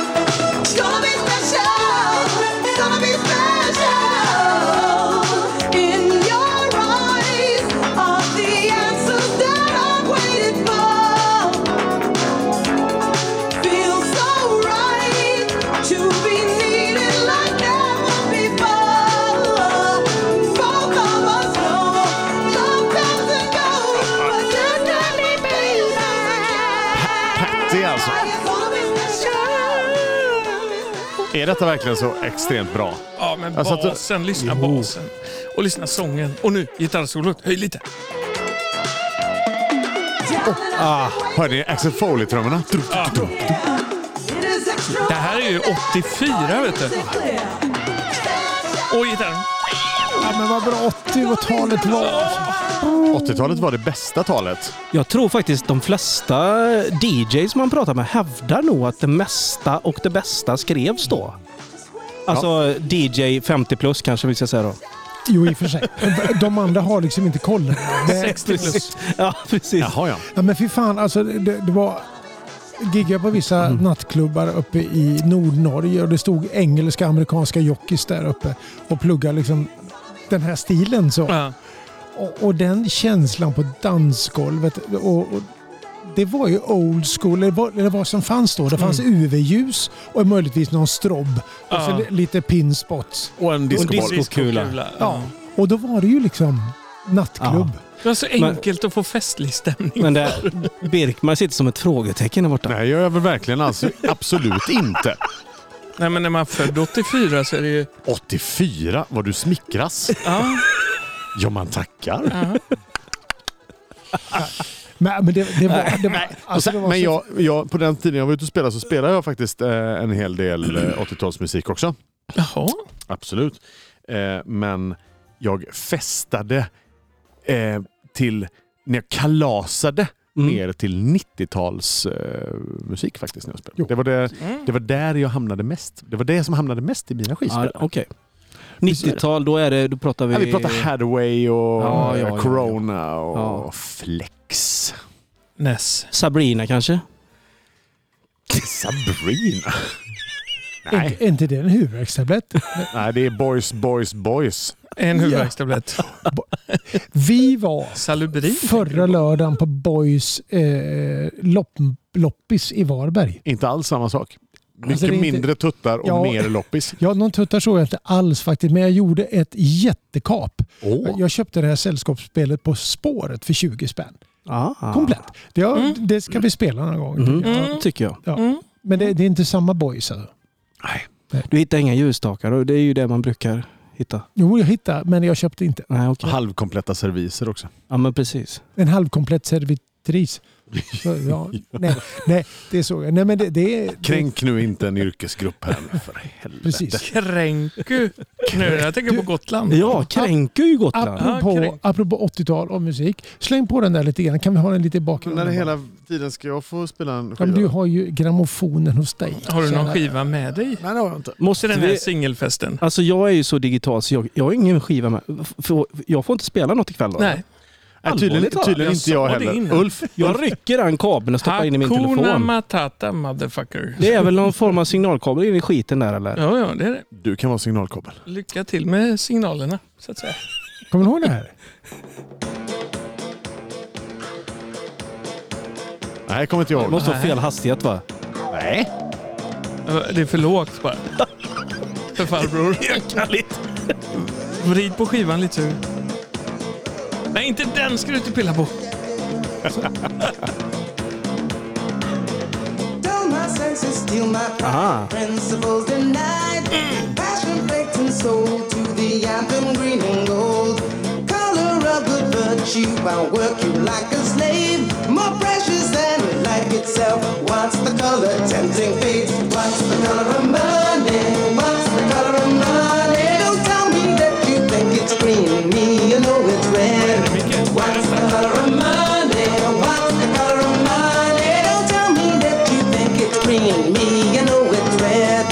S8: It's gonna be special. It's gonna be special. In your eyes are the answers that I've waited for. Feels so right to be needed like never before. Both of us know love comes and goes, but there's nothing feels
S2: Det är alltså.
S8: It's gonna be special.
S2: Är detta verkligen så extremt bra?
S3: Ja, men
S2: Alltså att-
S3: basen. Lyssna basen. Och lyssna sången. Och nu gitarrsolot. Höj lite.
S2: Ah, hör ni Axel Foley-trummorna?
S3: Det här är ju 84, vet du. Och gitarren.
S1: Ja, men vad bra 80-talet var.
S2: 80-talet var det bästa talet.
S4: Jag tror faktiskt de flesta DJs man pratar med hävdar nog att det mesta och det bästa skrevs då. Alltså DJ 50 plus kanske vi ska säga då.
S1: Jo, i och för sig. De andra har liksom inte koll. Det,
S3: 60 plus.
S4: Ja, precis.
S2: Jaha ja.
S1: ja, men fy fan, alltså, det, det var... Giggade på vissa nattklubbar uppe i Nordnorge och det stod engelska amerikanska jockeys där uppe och pluggade liksom den här stilen. Så.
S3: Ja.
S1: Och, och den känslan på dansgolvet. Och, och, det var ju old school, det var, det var som fanns då. Det
S2: Mm.
S1: fanns UV-ljus och möjligtvis någon strobb. Och så
S3: Ja.
S1: li- lite pinspots.
S2: Och en discoboll.
S4: Diskokula.
S3: Ja.
S1: Ja. Och då var det ju liksom nattklubb.
S3: Det var så enkelt att få festlig stämning.
S4: Men det, Birkman sitter som ett frågetecken där borta.
S2: Nej, jag gör väl verkligen alltså absolut inte.
S3: Nej, men när man är född 84 så är det ju...
S2: 84, vad du smickras.
S3: Ja,
S2: Ja, man tackar.
S1: Men, men det, det var... Det var,
S2: Och
S1: alltså, det
S2: sen,
S1: var
S2: men
S1: så-
S2: jag, jag, på den tiden jag var ute och spelade så spelade jag faktiskt eh, en hel del eh, 80-talsmusik också.
S3: jaha.
S2: Absolut. Eh, men jag festade eh, till, när jag kalasade
S4: Mm.
S2: ner till 90-talsmusik eh, musik faktiskt. När jag
S1: Jo.
S2: spelade. Det, var det, det var där jag hamnade mest. Det var det som hamnade mest i mina
S4: Ja,
S2: skivspelare.
S4: Okej. 90-tal, då är det, då pratar vi...
S2: Ja, vi pratar Hathaway och
S4: Ja, ja, ja,
S2: Corona och
S4: Ja.
S2: Flex.
S3: Ness.
S4: Sabrina kanske?
S2: Sabrina.
S1: Är inte- är inte det en huvudvärkstablett?
S2: Nej, det är Boys, Boys, Boys.
S3: En huvudvärkstablett.
S1: Vi var
S3: Salubrin.
S1: förra lördagen på Boys eh, lopp, loppis i Varberg.
S2: Inte alls samma sak.
S4: Alltså,
S2: Mycket
S1: det är inte-
S2: mindre tuttar och
S1: Ja.
S2: mer loppis.
S1: Ja, någon tuttar såg jag inte alls faktiskt, men jag gjorde ett jättekap.
S2: Åh.
S1: Jag köpte det här sällskapsspelet på spåret för 20 spänn.
S4: Ah.
S1: Komplett. Det, har-
S3: Mm.
S1: det ska vi spela någon gång.
S4: Mm.
S1: tycker jag.
S4: Ja, tycker jag.
S1: Ja. Men det, det är inte samma Boys. Alltså.
S2: Nej.
S4: Du hittar inga ljusstakar och det är ju det man brukar hitta.
S1: Jo, jag hittade, men jag köpte inte.
S4: Nej, okej.
S2: Halvkompletta serviser också.
S4: Ja, men precis.
S1: En halvkomplett servitris. Så, ja, nej, nej, det såg jag. Nej, men det, det är...
S2: Kränk nu inte en yrkesgrupp här nu för helvete.
S1: Precis.
S3: Kränku. Nu, jag tänker på Gotland.
S4: Ja, kränker ju Gotland.
S3: Ja,
S1: Apropå,
S3: kränk.
S1: apropå 80-tal och musik. Släng på den där lite grann. Kan vi ha den lite i
S2: När
S1: bakgrunden?
S2: hela tiden ska jag få spela en
S1: Ja,
S2: skiva?
S1: men du har ju grammofonen hos dig.
S3: Har du någon
S1: Kära-
S3: skiva med dig?
S2: Nej, det har jag inte.
S4: Måste
S3: Till den här
S4: vi-
S3: singelfesten?
S4: Alltså jag är ju så digital så jag, jag har ingen skiva med. F- För jag får inte spela något ikväll. Äh, va?
S3: Nej.
S2: Nej, tydligen
S4: Allvarligt talat.
S2: tydligen
S3: Jag
S2: inte jag
S3: sa det
S2: heller.
S3: innan.
S2: Ulf,
S4: Jag rycker den kabeln och stoppar in i min
S3: Hakuna
S4: telefon.
S3: Matata motherfucker.
S4: Det är väl någon form av signalkabel in i skiten där eller?
S3: Ja, ja, det är det.
S2: du kan vara signalkabel.
S3: Lycka till med signalerna, så att säga.
S1: Kommer du ihåg det här?
S2: Nej, kommer inte jag ihåg.
S9: Måste ha fel hastighet va?
S2: Nej.
S3: Alltså, Det är för lågt bara. För farbror. Vrid på skivan lite. så- Nej, inte den ska du inte pilla på.
S8: Dull my senses, steal my pride. Principles denied. Passion baked and sold to the anthem green and gold. Color of good virtue, I work you like a slave. More precious than life itself. What's the color? Tempting fate. What's the color of money? What's the color of money? Don't tell me that you think it's green. Me, you know it's red. What's the color of money? What's the color of money? Don't tell me that you think it's green. Me, you know it's red.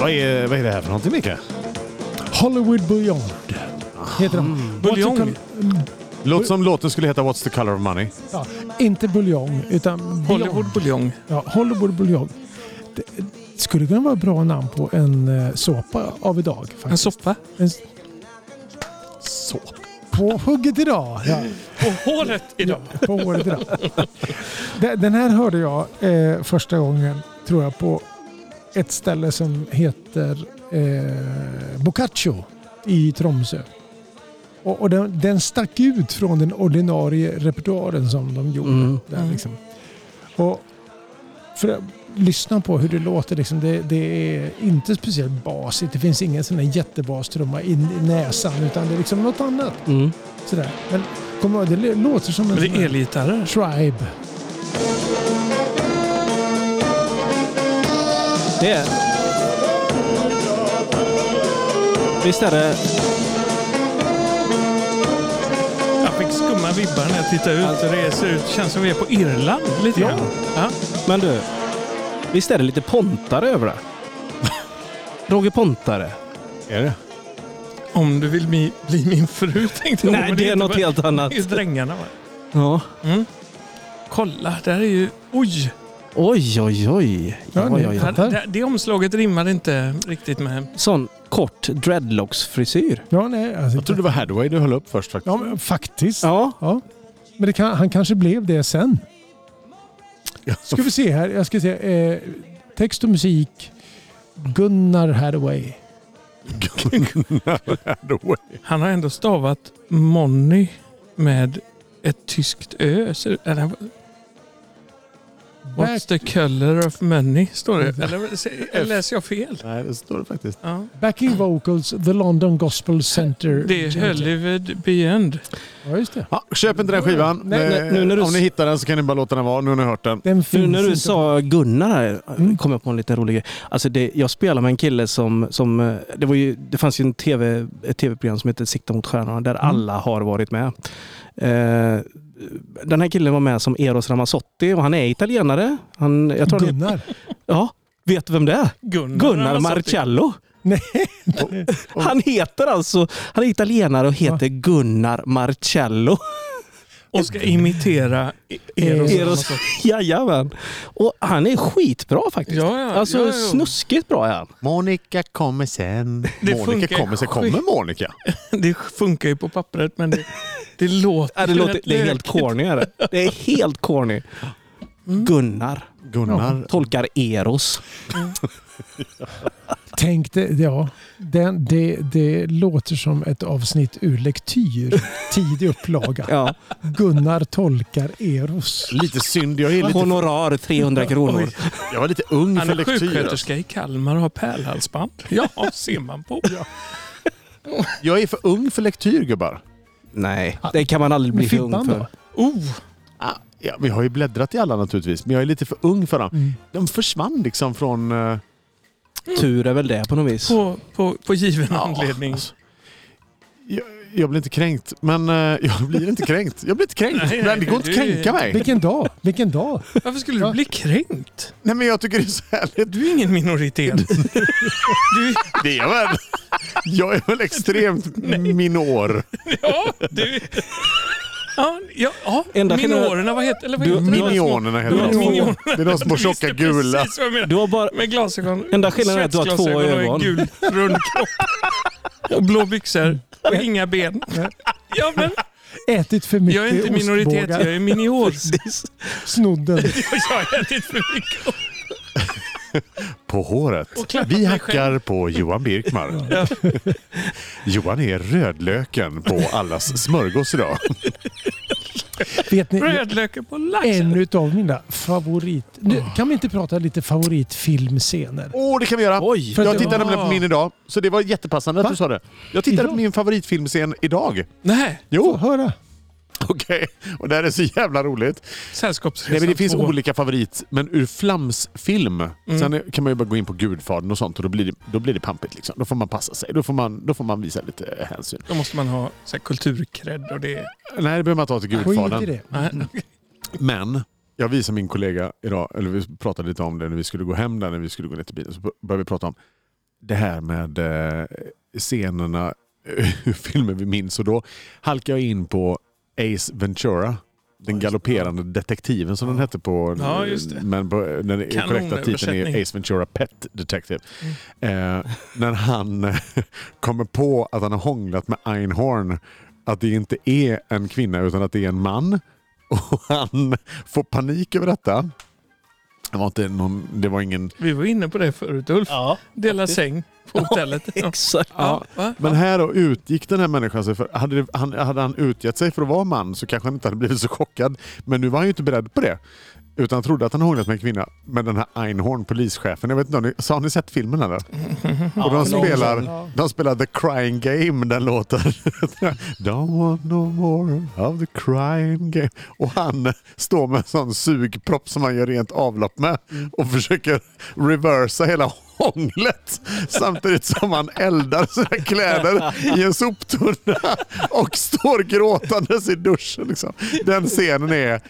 S2: Vad är, vad är det här för någonting Micke?
S1: Hollywood Bouillon heter den.
S3: Buljong.
S1: What's the col-
S2: Låter som låten skulle heta What's the color of money?
S1: Ja, inte buljong, utan bouillon.
S3: Hollywood buljong.
S1: Ja, Hollywood Buljong. Det det skulle kunna vara ett bra namn på en eh, såpa av idag.
S3: En
S1: Faktiskt.
S3: soppa.
S1: En s-
S2: Så.
S1: På hugget idag. Ja.
S3: På håret idag.
S1: Ja, på året idag. De- Den här hörde jag eh, första gången, tror jag, på ett ställe som heter eh, Boccaccio i Tromsö. Och, och den, den stack ut från den ordinarie repertoaren som de gjorde.
S4: Mm.
S1: Där, liksom. och för att lyssna på hur det låter, liksom, det, det är inte speciellt basigt. Det finns ingen sån där jättebastrumma i, i näsan, utan det är liksom något annat.
S4: Mm.
S1: Sådär. Men kom ihåg, det lå- låter som en
S3: Men det
S1: sån här
S3: är elgitarrer.
S1: tribe.
S4: Det är... Visst är det...
S3: Jag fick skumma vibbar när jag tittar ut.
S4: Alltså-
S3: det ser ut, känns som vi är på Irland lite
S4: Ja.
S3: grann. Ja.
S4: Men du. Visst är det lite Pontare över det? Roger Pontare.
S2: Är det?
S3: Om du vill bli, bli min fru tänkte jag.
S4: Nej,
S3: Men
S4: det är
S3: inte
S4: något
S3: bara-
S4: helt annat.
S3: Det är ju drängarna. Va?
S4: Ja.
S3: Kolla, där är ju... Oj!
S4: Oj, oj, oj.
S1: Ja,
S4: oj, oj,
S1: nu-
S4: oj.
S3: Här,
S1: Fattar.
S3: där, det omslaget rimmar inte riktigt med...
S4: Sån kort dreadlocks-frisyr.
S1: Ja, nej, alltså,
S2: Jag trodde det var Hadway du höll upp först faktiskt.
S1: ja, men, faktiskt. Ja.
S4: Ja.
S1: Men det kan, han kanske blev det sen. Ska vi se här. Jag ska se. Eh, text och musik. Gunnar Hathaway.
S2: Hadway.
S3: Han har ändå stavat Monny med ett tyskt ö. Så, eller, what's the color of money? Står det. Eller se- eller läser jag fel?
S2: Nej, det står det faktiskt.
S3: Ja.
S1: Backing vocals, The London Gospel Center.
S3: Det är Hollywood Beyond.
S1: Ja, just det.
S2: Ja, köp inte den skivan.
S4: Nej, nej,
S2: Eh,
S4: nu när du
S2: Om ni
S4: s-
S2: hittar den så kan ni bara låta den vara nu har ni hört den.
S1: Den finns
S4: Nu när du
S1: inte.
S4: sa Gunnar här
S1: Mm.
S4: kom jag på en liten rolig grej. Alltså det, jag spelade med en kille som... som eh, det, var ju, det fanns ju en TV, ett tv-program som heter Sikta mot stjärnorna
S1: Mm.
S4: där alla har varit med. Eh, den här killen var med som Eros Ramazzotti och han är italienare. Han, jag tror det,
S1: Gunnar.
S4: ja, vet du vem det är?
S3: Gunnar,
S4: Gunnar
S3: har satt det.
S4: Marcello.
S1: Nej.
S4: Han heter alltså, han är italienare och heter Gunnar Marcello.
S3: Och ska imitera E- Eros.
S4: Eros. Jajamän. Och han är skitbra faktiskt.
S3: Ja, ja,
S4: alltså
S3: ja, ja.
S4: snuskigt bra är han.
S2: Monica kommer sen.
S3: Det
S2: Monica
S3: funkar
S2: kommer sen.
S3: skit.
S2: Kommer Monica?
S3: Det funkar ju på pappret men det, det låter...
S4: Ja, det, låter,
S3: rätt
S4: det är helt
S3: lökigt.
S4: corny. Är det. det är helt corny. Gunnar
S2: Mm. Gunnar.
S4: tolkar Eros.
S1: Tänk det, ja. Den, det, det låter som ett avsnitt ur lektyr. Tidig upplaga.
S4: Ja.
S1: Gunnar tolkar Eros.
S2: Lite synd, jag, är lite,
S4: Honorar 300 kronor.
S2: jag var lite ung
S3: Han
S2: för
S3: är
S2: lektyr.
S3: sjuksköterska i Kalmar och har pärlhalsband. Ja, ser man på.
S2: Jag är för ung för lektyr gubbar.
S4: Nej, det kan man aldrig bli för ung
S1: Fimpan
S4: för.
S1: då?
S3: Oh,
S2: Ah, Ja, vi har ju bläddrat i alla naturligtvis, men jag är lite för ung för dem.
S3: Mm.
S2: De försvann liksom från... eh,
S4: Tur är väl det på något vis.
S3: på, på, på given anledning.
S2: alltså. Jag, jag blir inte kränkt, men eh, jag blir inte kränkt. Jag blir inte kränkt.
S3: Nej, nej,
S2: men det går inte att
S3: du-
S2: kränka mig.
S1: Vilken dag! Vilken dag!
S3: Varför skulle du bli kränkt?
S2: Nej, men jag tycker det är så härligt.
S3: Du är ingen minoritet. Du,
S2: Det är jag väl. Jag är väl extremt minor.
S3: ja, du... Ja, ja, ja.
S4: Enda skillnaden-
S3: minorerna, vad heter, eller vad
S4: Du-
S3: heter de?
S2: Minionerna heter
S4: du-
S2: de.
S3: Minionerna.
S2: Det är de små
S3: Visst,
S2: tjocka gula.
S3: Precis vad jag menar.
S4: Du har bara...
S3: Med glasögon.
S4: Enda skillnaden är att du har två
S3: svetsglasögon
S4: ögon.
S3: Och en gul rund kropp. Och blå byxor. Och inga ben. Ja, men
S1: Ätit för mycket
S3: Jag är inte minoritet,
S1: ostbågar.
S3: jag är minior.
S1: Snodd den.
S3: Jag har ätit för mycket.
S2: På håret.
S3: Och klappat
S2: Vi
S3: mig
S2: hackar på Johan Birkmar. Johan är rödlöken på allas smörgås idag.
S1: Vet ni,
S3: Rödlökar på laxen.
S1: en utav mina favorit... Nu, kan vi inte prata lite favoritfilmscener?
S2: Åh, det kan vi göra!
S4: Oj.
S1: För att
S2: jag
S1: det
S3: var-
S2: tittade nämligen på min idag, så det var jättepassande att
S1: Va?
S2: du sa det. Jag tittade
S1: Idag?
S2: på min favoritfilmscen idag.
S3: Nej,
S1: Få
S2: Jo,
S1: höra.
S2: okej. Och det här är så jävla roligt.
S3: Sällskapsresan
S2: Nej, men det finns
S3: två.
S2: olika favorit, men ur flamsfilm. Sen kan man ju bara gå in på Gudfadern och sånt och då blir det, då blir det pampigt. Liksom. Då får man passa sig. Då får man, då får man visa lite eh, hänsyn.
S3: Då måste man ha så här, kulturkredd och det...
S2: Nej, det behöver man ta till
S1: Skit i
S2: Gudfadern.
S1: det.
S3: Nej.
S4: Mm.
S2: Men jag visade min kollega idag, eller vi pratade lite om det när vi skulle gå hem där, när vi skulle gå ner till bilen. Så började vi prata om det här med eh, scenerna, hur filmer vi minns. Och då halkade jag in på Ace Ventura. Den galopperande detektiven som den hette på...
S3: Ja, just det.
S2: Men på, den är- korrekta titeln
S3: Kanonöversättning.
S2: är Ace Ventura Pet Detective. Eh, när han eh, kommer på att han har hånglat med Einhorn. Att det inte är en kvinna utan att det är en man. Och han får panik över detta. Det var, inte någon, det var ingen...
S3: Vi var inne på det förut Ulf.
S4: Ja,
S3: Dela säng på hotellet. Ja.
S4: exakt.
S3: Ja, va?
S2: Men här då utgick den här människan sig för... Hade, det, han, hade han utgett sig för att vara man så kanske han inte hade blivit så chockad. Men nu var han ju inte beredd på det. Utan trodde att han hånglat med en kvinna. Men den här Einhorn, polischefen. Jag vet inte, om ni- så har ni sett filmen eller? Och de spelar, de spelar The Crying Game, den låten. Don't want no more of the crying game. Och han står med en sån sugpropp som han gör rent avlopp med och försöker reversa hela hånglet samtidigt som han eldar sina kläder i en soptunna och står gråtandes i duschen. Liksom. Den scenen är...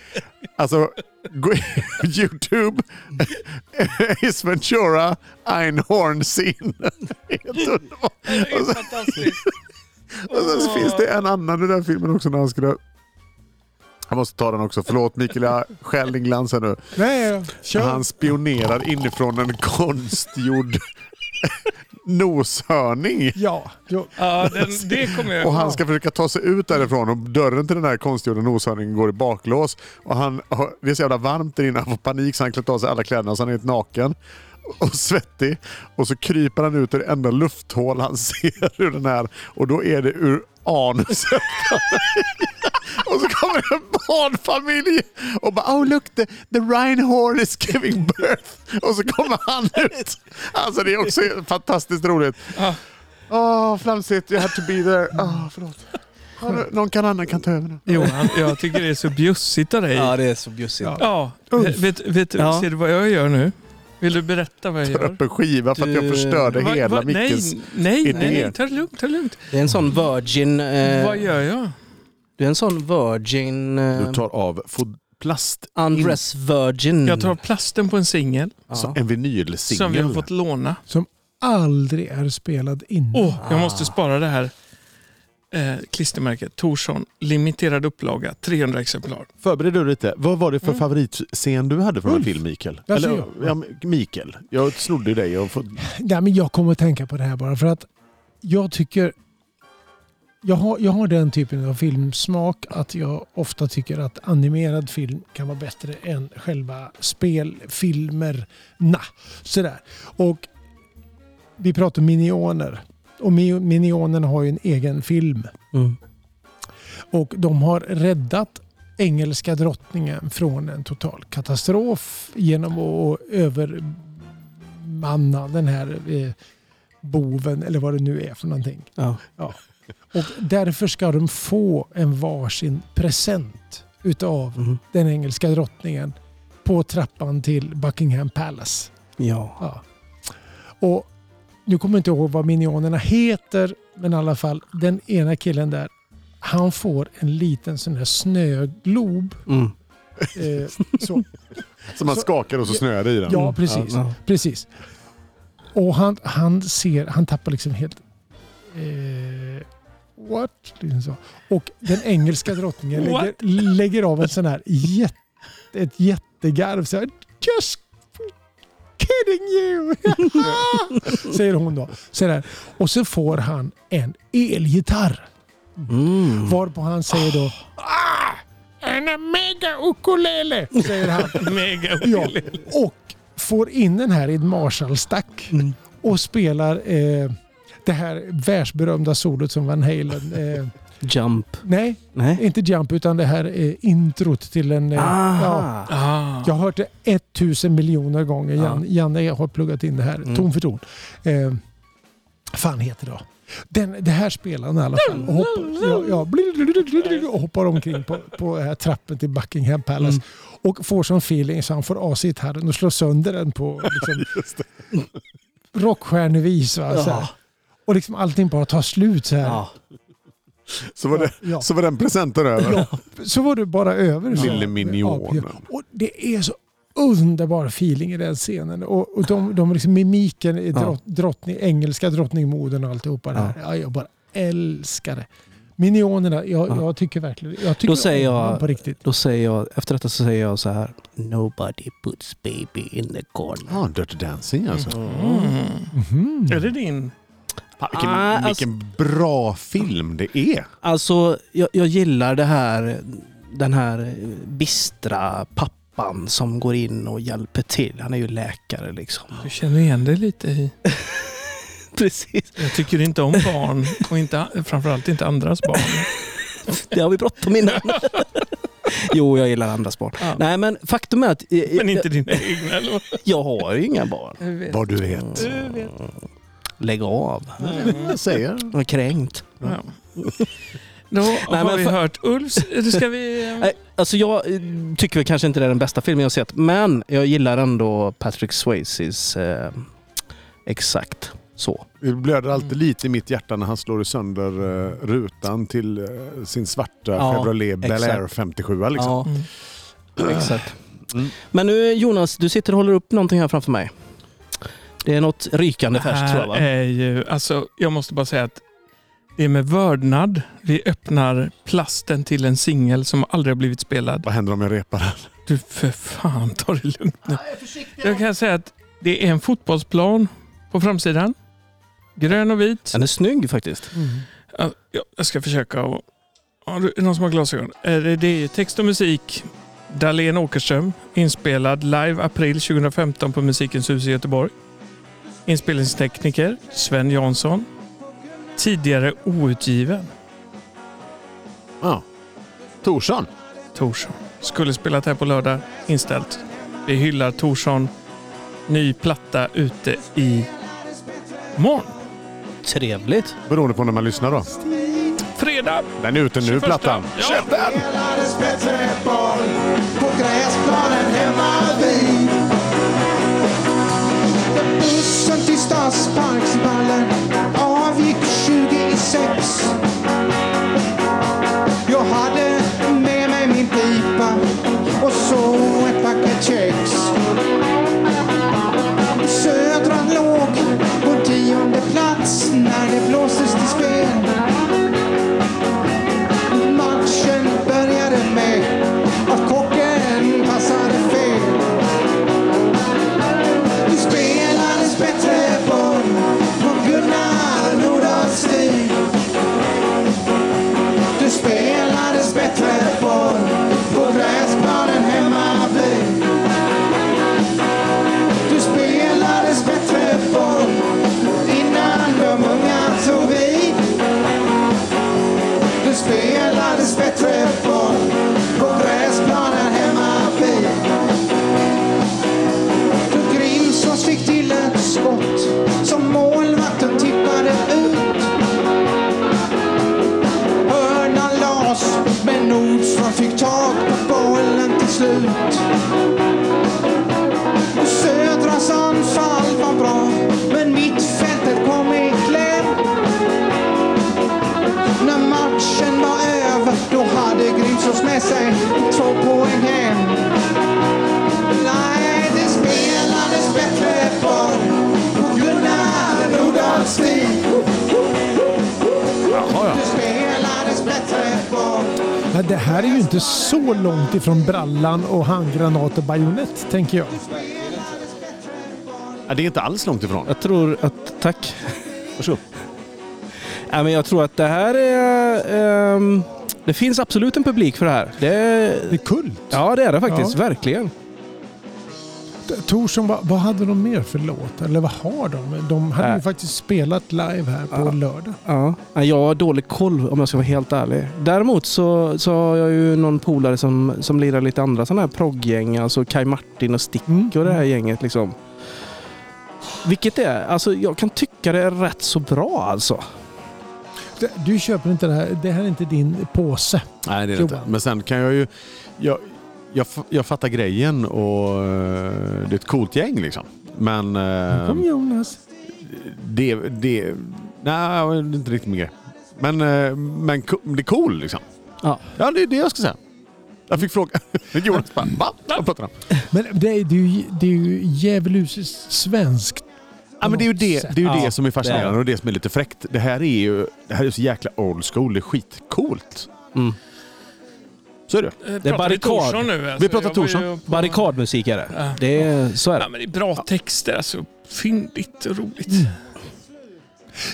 S2: Alltså, gå in på Youtube, Ace Ventura, Einhorn scene. Helt underbart. Och så-
S3: Fantastiskt.
S2: och sen så finns det en annan i den här filmen också när han skulle... Jag måste ta den också. Förlåt Mikael, jag stjäl din glans här nu.
S1: Nej, kör.
S2: Han spionerar inifrån en konstgjord noshörning.
S1: Ja, jo.
S3: Ja, den, det kommer jag
S2: Och han
S3: ihåg.
S2: ska försöka ta sig ut därifrån och dörren till den här konstgjorda noshörningen går i baklås. Och han, har- det är så jävla varmt där inne, han får panik så han klätt av sig alla kläderna så han är helt naken och svettig. Och så kryper han ut ur det enda lufthål han ser ur den här och då är det ur anuset. Och så kommer det en barnfamilj och bara oh look the, the rhinehorn is giving birth. Och så kommer han ut. Alltså det är också fantastiskt roligt. Åh flamsigt, you had to be there. Åh förlåt. Har du- Någon kan annan kan ta över nu.
S3: Johan, jag tycker det är så bjussigt av dig.
S4: Ja, det är så bjussigt.
S1: Ja.
S3: Ja,
S1: Ulf.
S3: vet, vet,
S4: Ja.
S3: ser du vad jag gör nu? Vill du berätta vad jag
S2: Jag tar
S3: gör?
S2: upp en skiva för att jag
S4: Du-
S2: förstörde
S3: Va-
S2: hela
S3: va-
S2: Mickes...
S3: nej, nej,
S2: idé.
S3: nej, ta det lugnt, ta det lugnt.
S4: Det är en sån virgin... Eh,
S3: Vad gör jag?
S4: Du är en sån virgin... Eh,
S2: tar av fod- plast,
S4: undress virgin.
S3: Jag tar plasten på en singel
S4: ja.
S2: en
S3: som vi har
S2: vinylsingel.
S3: fått låna.
S1: Som aldrig är spelad innan.
S3: Åh, jag måste spara det här eh, klistermärket. Torsson, limiterad upplaga, 300 exemplar.
S2: Förbered du lite. Vad var det för favoritscen du hade från en film, Mikael?
S1: Där ser
S2: Eller,
S1: jag.
S2: Mm. ja, men Mikael, jag snodde ju dig. Och fått...
S1: Nej, men jag kommer att tänka på det här bara för att jag tycker... Jag har, jag har den typen av filmsmak att jag ofta tycker att animerad film kan vara bättre än själva spelfilmerna. Sådär. Och vi pratar minioner. Och Mi- minionerna har ju en egen film.
S4: Mm.
S1: Och de har räddat engelska drottningen från en total katastrof genom att övermanna den här eh, boven eller vad det nu är för någonting.
S4: Ja.
S1: Och därför ska de få en varsin present utav
S4: Mhm.
S1: den engelska drottningen på trappan till Buckingham Palace.
S4: ja.
S1: Ja. Och nu kommer jag inte ihåg vad minionerna heter, men i alla fall den ena killen där, han får en liten sån här snöglob.
S4: Mm.
S1: Eh, så.
S2: Som man
S1: Så-
S2: skakar och så snöar det i den.
S1: Ja, precis.
S4: Mm. Ja.
S1: precis. Och han, han ser, han tappar liksom helt... Eh, what? Liksom så. Och den engelska drottningen lägger,
S3: What?
S1: lägger av en sån här jätte, ett jättegarv. Så här, Just kidding you! säger hon då. Så där. Och så får han en elgitarr
S4: Mm.
S1: Varpå han säger då ah, En mega ukulele! Säger han.
S3: Mega
S1: Ja,
S3: ohygglig.
S1: och får in den här i en Marshallstack och spelar eh, det här världsberömda solot som Van Halen... Eh,
S4: Jump.
S1: nej,
S4: Nej.
S1: inte Jump utan det här eh, introt till en... Eh, ja,
S4: Aha.
S3: Ah.
S1: jag har hört det 1000 miljoner gånger. Jan,
S4: Ja.
S1: Janne har pluggat in det här
S4: Mm.
S1: ton för ton. Eh, fan heter det då? Den, det här spelar han i alla fall. Och hoppar, ja, ja, blilililililil- och hoppar omkring på, på den här trappen till Buckingham Palace.
S4: Mm.
S1: Och får sån feeling så han får av sig gitarren och slår sönder den på liksom, rockstjärnevis. Va, så här.
S4: Ja.
S1: Och liksom allting bara tar slut så här.
S4: Ja.
S2: Så var, det,
S1: Ja.
S2: så var den presenten över.
S1: Ja, så var du bara över. så.
S2: Lille minionen.
S1: Och det är så underbar feeling i den scenen. Och, och de, de liksom mimiken, i drott, drottning, engelska drottningmodern och alltihopa det här. Ja, jag bara älskar det. Minionerna, jag,
S4: Ja.
S1: jag tycker verkligen jag tycker
S4: Då säger
S1: om
S4: jag-
S1: dem på riktigt.
S4: Då säger jag, efter detta så säger jag så här. Nobody puts baby in the corner.
S2: ah, Dirty Dancing alltså.
S3: Mm.
S1: Mhm.
S3: Är det din?
S2: Fan, vilken,
S4: Ah, alltså-
S2: vilken bra film det är.
S4: Alltså, jag, jag gillar det här, den här eh, bistra pappan som går in och hjälper till. Han är ju läkare liksom.
S3: Du känner igen dig lite i.
S4: Precis.
S3: Jag tycker inte om barn och inte, framförallt inte andras barn.
S4: Det har vi bråttom innan. jo, jag gillar andras barn.
S3: Ja.
S4: Nej, men faktum är att eh, eh,
S3: Men inte dina egna. Eller vad?
S4: jag, jag har ju inga barn.
S2: Vad du vet.
S4: Lägg av.
S2: Jag säger.
S4: Jag är kränkt.
S3: Ja. Då har
S4: men
S3: vi
S4: för-
S3: hört Ulfs. Eller Ska vi... eh,
S4: Nej, alltså jag eh, tycker väl kanske inte det är den bästa filmen jag sett, men jag gillar ändå Patrick Swayzes eh, exakt så.
S2: Det blöder alltid lite i mitt hjärta när han slår sönder eh, rutan till eh, sin svarta
S4: Ja,
S2: Chevrolet Bel Air
S4: exakt.
S2: 57. Liksom.
S4: Ja,
S3: Mm.
S4: exakt.
S2: Mm.
S4: Men nu Jonas, du sitter och håller upp någonting här framför mig. Det är något rykande färskt tror jag
S3: här
S4: va?
S3: är ju, alltså, jag måste bara säga att det är med vördnad vi öppnar plasten till en singel som aldrig har blivit spelad.
S2: Vad händer om jag repar den?
S3: Du för fan, ta det lugnt nu. Jag kan säga att det är en fotbollsplan på framsidan. Grön och vit.
S4: Den är snygg faktiskt.
S3: Ja, ja, Jag ska försöka. att- Ja, du- är det någon som har glasögon? Eh, Det det är text och musik. Dahlén Åkerström. Inspelad live april 2015 på Musikens hus i Göteborg. Inspelningstekniker Sven Jansson. Tidigare outgiven
S2: Ja. Torsson.
S3: Torsson. Skulle spelat här på lördag. Inställt. Vi hyllar Torsson. Ny platta ute i morgon.
S4: Trevligt.
S2: Beroende på när man lyssnar då.
S3: Fredag!
S2: Den är ute nu,
S3: 21.
S2: plattan.
S3: Ja.
S2: Köp den!
S10: Spelades bättre boll på gräsplanen hemma vid. När bussen till stadsparksvallen avgick 26. Jag hade med mig min pipa och så ett paket kex. Södran låg på tionde plats när det blåstes till spel. Matchen började med att kocken passade fel. Det spelades bättre boll på Gunnar Nordahls stil. Det spelades bättre boll på gräsplanen hemma vid. Det spelades bättre boll innan de unga tog vid. Du spelades bättre boll på gräsplanen hemma vid. Du Grimsås fick till ett skott som målvakten tippade ut. Hörnan lades, men Nordström fick tag på bollen till slut. Och Södras anfall var bra, men mittfältet kom i kläm. När matchen var över då hade Grimsås med sig två poäng hem. Nej, det spelades bättre boll på Gunnar Nordahls stil. Det spelades bättre boll
S1: Ja, det här är ju inte så långt ifrån brallan och handgranat och bajonett tänker jag.
S2: Ja, det är inte alls långt ifrån.
S4: Jag tror att, tack.
S2: Varsågod.
S4: Nej, men jag tror att det här är... ehm, det finns absolut en publik för det här.
S1: Det är
S4: Det,
S1: kult.
S4: ja, det är det faktiskt. Verkligen.
S1: Torsson, vad, vad hade de mer för låt? Eller vad har de? De hade
S4: Äh.
S1: ju faktiskt spelat live här på
S4: Ja.
S1: lördag.
S4: Ja. Nej, Jag har dålig koll om jag ska vara helt ärlig. Däremot så, så har jag ju någon polare som, som lirar lite andra sådana här progggäng. Alltså Kai Martin och Stick
S1: Mm.
S4: och det här gänget. Liksom. Vilket det är. Alltså, jag kan tycka det är rätt så bra alltså.
S1: Det- Du köper inte det här. Det här är inte din påse.
S2: Nej, det är det inte.
S1: Johan.
S2: Men sen kan jag ju... Jag, jag, f- jag fattar grejen och eh, det är ett coolt gäng liksom. Men eh,
S1: Kom Jonas.
S2: det... det nej, det är inte riktigt min grej. Men, eh, men co- det är cool liksom.
S4: Ja.
S2: ja, det är det jag ska säga. Jag fick fråga. Jonas bara, va? Vad pratar han om?
S1: Men det är, det är ju, det är ju djävulusiskt svenskt.
S2: Ja, men det är ju det, det, är ju
S4: Ja,
S2: det som är
S4: det är
S2: fascinerande
S4: det.
S2: och det som är lite fräckt. Det här är ju det här är så jäkla old school. Det är skitcoolt.
S4: Mm.
S2: Så är det.
S3: Eh,
S4: Det är
S3: pratar vi
S4: barrikad.
S3: Torsson nu. Alltså,
S2: Vi pratar
S3: Jag var ju
S2: Torsson.
S3: på-
S4: Barrikadmusik är
S3: Ja.
S4: det. det är, så är det.
S3: Ja, men det är bra texter. Alltså, fyndigt och roligt.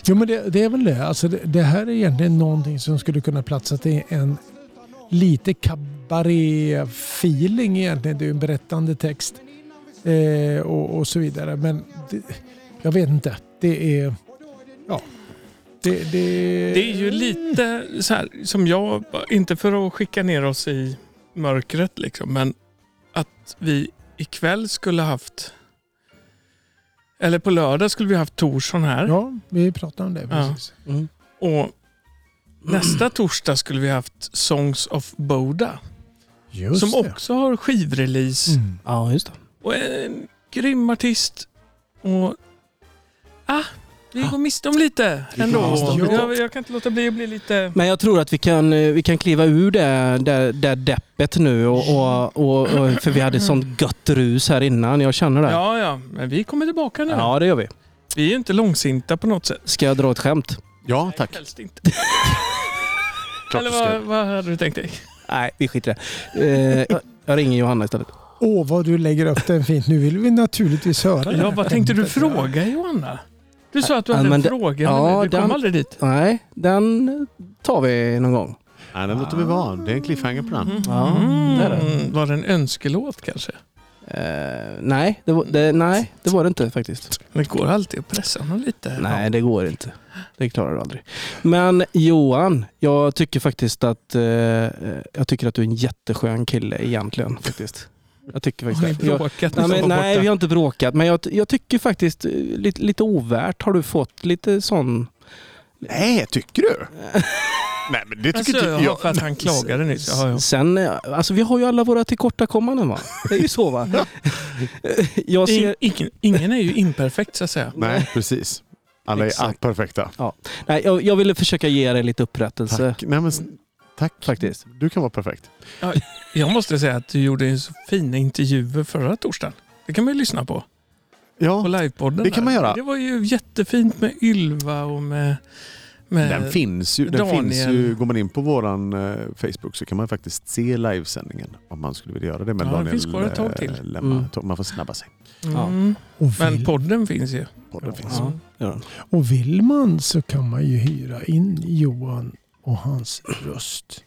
S1: Jo men det, det är väl det. Alltså, det. Det här är egentligen någonting som skulle kunna platsa till en lite cabaret-feeling egentligen. Det är ju en berättande text eh, och, och så vidare. Men det, jag vet inte. Det är... Ja. Det, det,
S3: Det är ju lite så här som jag, inte för att skicka ner oss i mörkret liksom, men att vi ikväll skulle haft, eller på lördag skulle vi haft Torsson här
S1: Ja, vi pratade om det.
S3: Ja.
S1: Precis.
S4: Mm.
S3: och nästa torsdag skulle vi haft Songs of Boda
S1: Just
S3: som
S1: det.
S3: också har skivrelease
S1: Mm.
S4: Ja, just det.
S3: och är en grym artist. Och, ah, vi går miste om lite ändå.
S1: miste om lite.
S3: Jag, jag kan inte låta bli att bli lite...
S4: Men jag tror att vi kan, eh, vi kan kliva ur det där, där deppet nu. Och, och, och, och, för vi hade sånt gött rus här innan. Jag känner det.
S3: Ja, ja, men vi kommer tillbaka nu.
S4: Ja, det gör vi.
S3: Vi är ju inte långsinta på något sätt.
S4: Ska jag dra ett skämt?
S2: Ja, tack.
S3: Helst inte.
S2: Klart
S3: Eller
S2: du ska.
S3: vad, vad hade du tänkt dig?
S4: Nej, vi skiter i det. Eh, jag- jag ringer Johanna istället.
S1: Åh, vad du lägger upp den fint. Nu vill vi naturligtvis höra
S3: Ja, vad tänkte du
S1: skämtet.
S3: fråga Johanna? Du sa att du
S4: Ja,
S3: hade
S4: men
S3: en
S4: det-
S3: fråga,
S4: ja,
S3: men vi kom
S4: den-
S3: aldrig dit.
S4: Nej, den tar vi någon gång.
S2: Nej, den låter vi vara. Det är en cliffhanger på
S3: Mhm.
S2: den.
S4: Ja, det är det.
S3: Mm. Var det en önskelåt kanske?
S4: Eh, nej, det var, det, nej, det var det inte faktiskt.
S3: Det går alltid att pressa honom lite.
S4: Nej, det går inte. Det klarar du aldrig. Men Johan, jag tycker faktiskt att, eh, jag tycker att du är en jätteskön kille egentligen. Faktiskt. Jag tycker
S3: Har ni
S4: faktiskt det. Jag,
S3: bråkat när
S4: nej,
S3: jag var
S4: men, nej,
S3: borta?
S4: vi har inte bråkat. Men jag, jag tycker faktiskt eh, lite, lite ovärt har du fått lite sån...
S2: Nej, tycker du? Nej, men det tycker
S3: Alltså,
S2: inte
S3: ja,
S2: jag.
S3: för att han klagade nyss. Ja, ja.
S4: Sen, eh, alltså vi har ju alla våra tillkortakommanden va? Det är ju så va? jag ser,
S3: In, ingen, ingen är ju imperfekt så att säga.
S2: Nej, precis. Alla är
S4: Exakt.
S2: perfekta.
S4: nej, jag, jag ville försöka ge dig lite upprättelse
S2: Tack. Nej, men, s- tack.
S4: Mm. faktiskt.
S2: Du kan vara perfekt.
S3: Jag måste säga att du gjorde ju så fina intervjuer förra torsdagen. Det kan man ju lyssna på. På
S2: Ja,
S3: livepodden.
S2: Det kan
S3: där.
S2: man göra.
S3: Det var ju jättefint med Ylva och med... med
S2: den finns ju. Den
S3: eh, Daniel.
S2: finns ju. Går man in på våran eh, Facebook så kan man faktiskt se livesändningen om man skulle vilja göra det. Men
S3: Ja, den
S2: Daniel
S3: finns kvar ett tag till.
S2: eh, lämnar-
S4: Mm.
S2: tog- Man får snabba sig.
S3: Mm.
S1: Och
S3: Men
S1: vill,
S3: podden finns ju.
S2: Podden finns.
S4: Ja.
S1: och vill man så kan man ju hyra in Johan och hans röst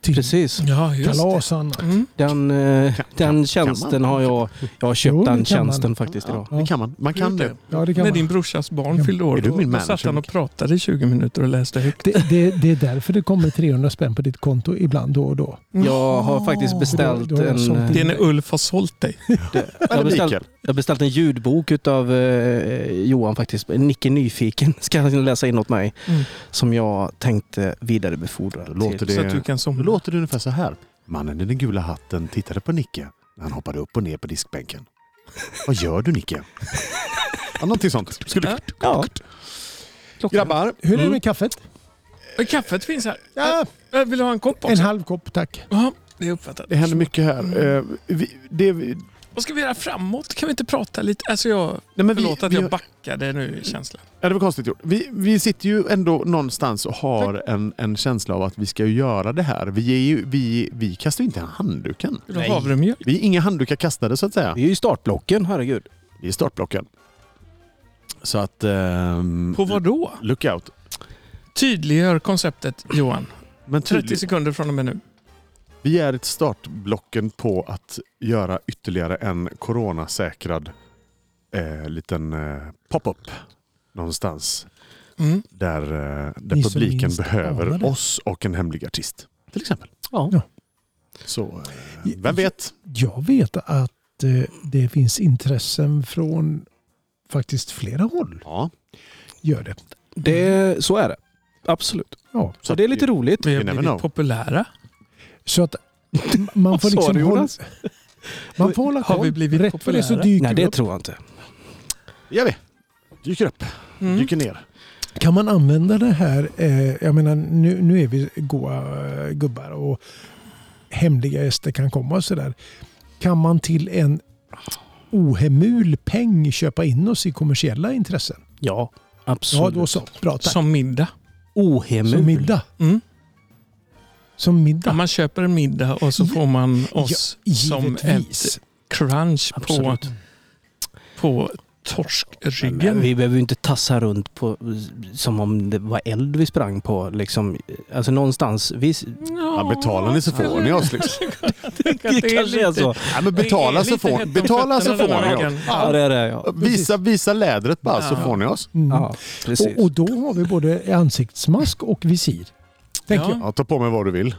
S1: till
S4: Precis.
S3: Ja,
S1: kalas och annat.
S3: Mm.
S4: Den, eh, den tjänsten
S2: man?
S4: har jag, jag har köpt
S1: Jo, det
S4: den
S1: kan
S4: tjänsten
S1: man.
S4: faktiskt idag.
S2: Det kan man. Man kan
S3: Just
S2: det.
S1: Ja, det, kan
S3: När
S1: man.
S3: din brorsas barn
S1: Ja.
S3: fyllde år,
S2: Är du
S3: då,
S2: min
S3: då
S2: manager,
S3: satt han och
S2: Micke?
S3: pratade i 20 minuter och läste högt.
S1: Det, det, det är därför det kommer 300 spänn på ditt konto ibland då och då.
S4: Jag har faktiskt beställt
S1: Då- då har jag
S4: en,
S1: sålt
S4: eh,
S3: Mm. Det är när Ulf har sålt dig.
S4: jag har
S2: Eller
S4: beställt,
S2: Mikael.
S4: jag har beställt en ljudbok utav eh, Johan faktiskt. Nicke Nyfiken ska han läsa in åt mig.
S3: Mm.
S4: Som jag tänkte vidarebefordra
S2: Låter
S4: till.
S2: det-
S3: Så att du kan
S2: Då
S3: somna.
S2: låter det ungefär så här. Mannen i den gula hatten tittade på Nicke när han hoppade upp och ner på diskbänken. Vad gör du Nicke? Ja, någonting sånt. Skulle...
S4: Ja.
S2: Grabbar,
S1: Hur
S3: Mm.
S1: är det med kaffet?
S3: Och Kaffet finns här.
S1: Ja,
S3: Äh, Vill du ha en kopp
S1: en
S3: också?
S1: halv kopp tack.
S3: Ja, det är uppfattat.
S2: det händer mycket här. Eh, vi, det, vi,
S3: Vad ska vi göra framåt? Kan vi inte prata lite? Alltså jag,
S2: nej, men vi,
S3: förlåt att
S2: vi,
S3: jag backade nu i känslan.
S2: Ja, det var konstigt gjort. Vi, vi sitter ju ändå någonstans och har en, en känsla av att vi ska ju göra det här. Vi, är ju, vi, vi kastar ju inte handduken.
S3: Vill du ha havremjölk?
S2: Vi är inga handdukar kastade så att säga.
S4: Vi är ju i startblocken, herregud.
S2: Vi är startblocken. Så att... ehm,
S3: På vad då?
S2: Look out.
S3: Tydliggör konceptet Johan.
S2: Men
S3: 30
S2: tydligt,
S3: sekunder från och med nu.
S2: vi är ett startblocken på att göra ytterligare en coronasäkrad eh, liten eh, pop-up någonstans.
S3: Mm.
S2: Där, eh, där
S1: Ni som
S2: publiken
S1: minst anar
S2: behöver
S1: det.
S2: oss och en hemlig artist. Till exempel.
S4: Ja.
S1: Ja.
S2: Så, eh, vem vet?
S1: Jag vet att eh, det finns intressen från faktiskt flera håll.
S2: Ja,
S1: Gör det.
S4: Det, så är det. Absolut.
S1: Ja.
S4: Så det är lite roligt.
S3: Vi
S2: You
S3: har
S2: never
S3: blivit
S2: know.
S3: populära.
S1: Så att man
S4: Vad
S1: får
S4: sa
S1: liksom
S4: du,
S1: hålla,
S4: Jonas?
S1: man får hålla
S3: Har
S1: koll.
S3: vi blivit
S1: Rätt för det så
S3: populära?
S1: dyker
S4: Nej,
S1: vi
S4: det
S1: upp.
S4: tror jag inte.
S2: gör vi. Dyker upp,
S3: Mm.
S2: dyker ner.
S1: Kan man använda det här, eh, jag menar nu, nu är vi goa eh, gubbar och hemliga gäster kan komma och sådär. Kan man till en ohemul peng köpa in oss i kommersiella intressen?
S4: Ja,
S1: Ja,
S4: absolut.
S1: då så. Bra, tack.
S3: Som middag.
S4: Ohemul.
S1: Som middag.
S3: Mm.
S1: Som
S3: Ja,
S1: middag.
S3: man köper en middag och så
S1: Ja,
S3: får man oss som ett
S1: Givetvis.
S3: crunch på,
S4: Absolut.
S3: på
S4: Men
S3: torskryggen.
S4: vi behöver ju inte tassa runt på, som om det var eld vi sprang på. Liksom. Alltså någonstans. Vi,
S2: Ja, betalar ni så får ni oss. Liksom.
S3: det är
S4: kanske är
S3: lite-
S4: så.
S2: Ja, men betala så får, betala så får ni oss.
S4: Ja, det är det. Ja.
S2: Visa, visa lädret bara så
S3: Ja.
S2: får ni oss.
S1: Mm.
S4: Ja, precis.
S1: och, och då har vi både ansiktsmask och visir. Tänker jag.
S3: Ja,
S2: Ja, ta på mig vad du vill.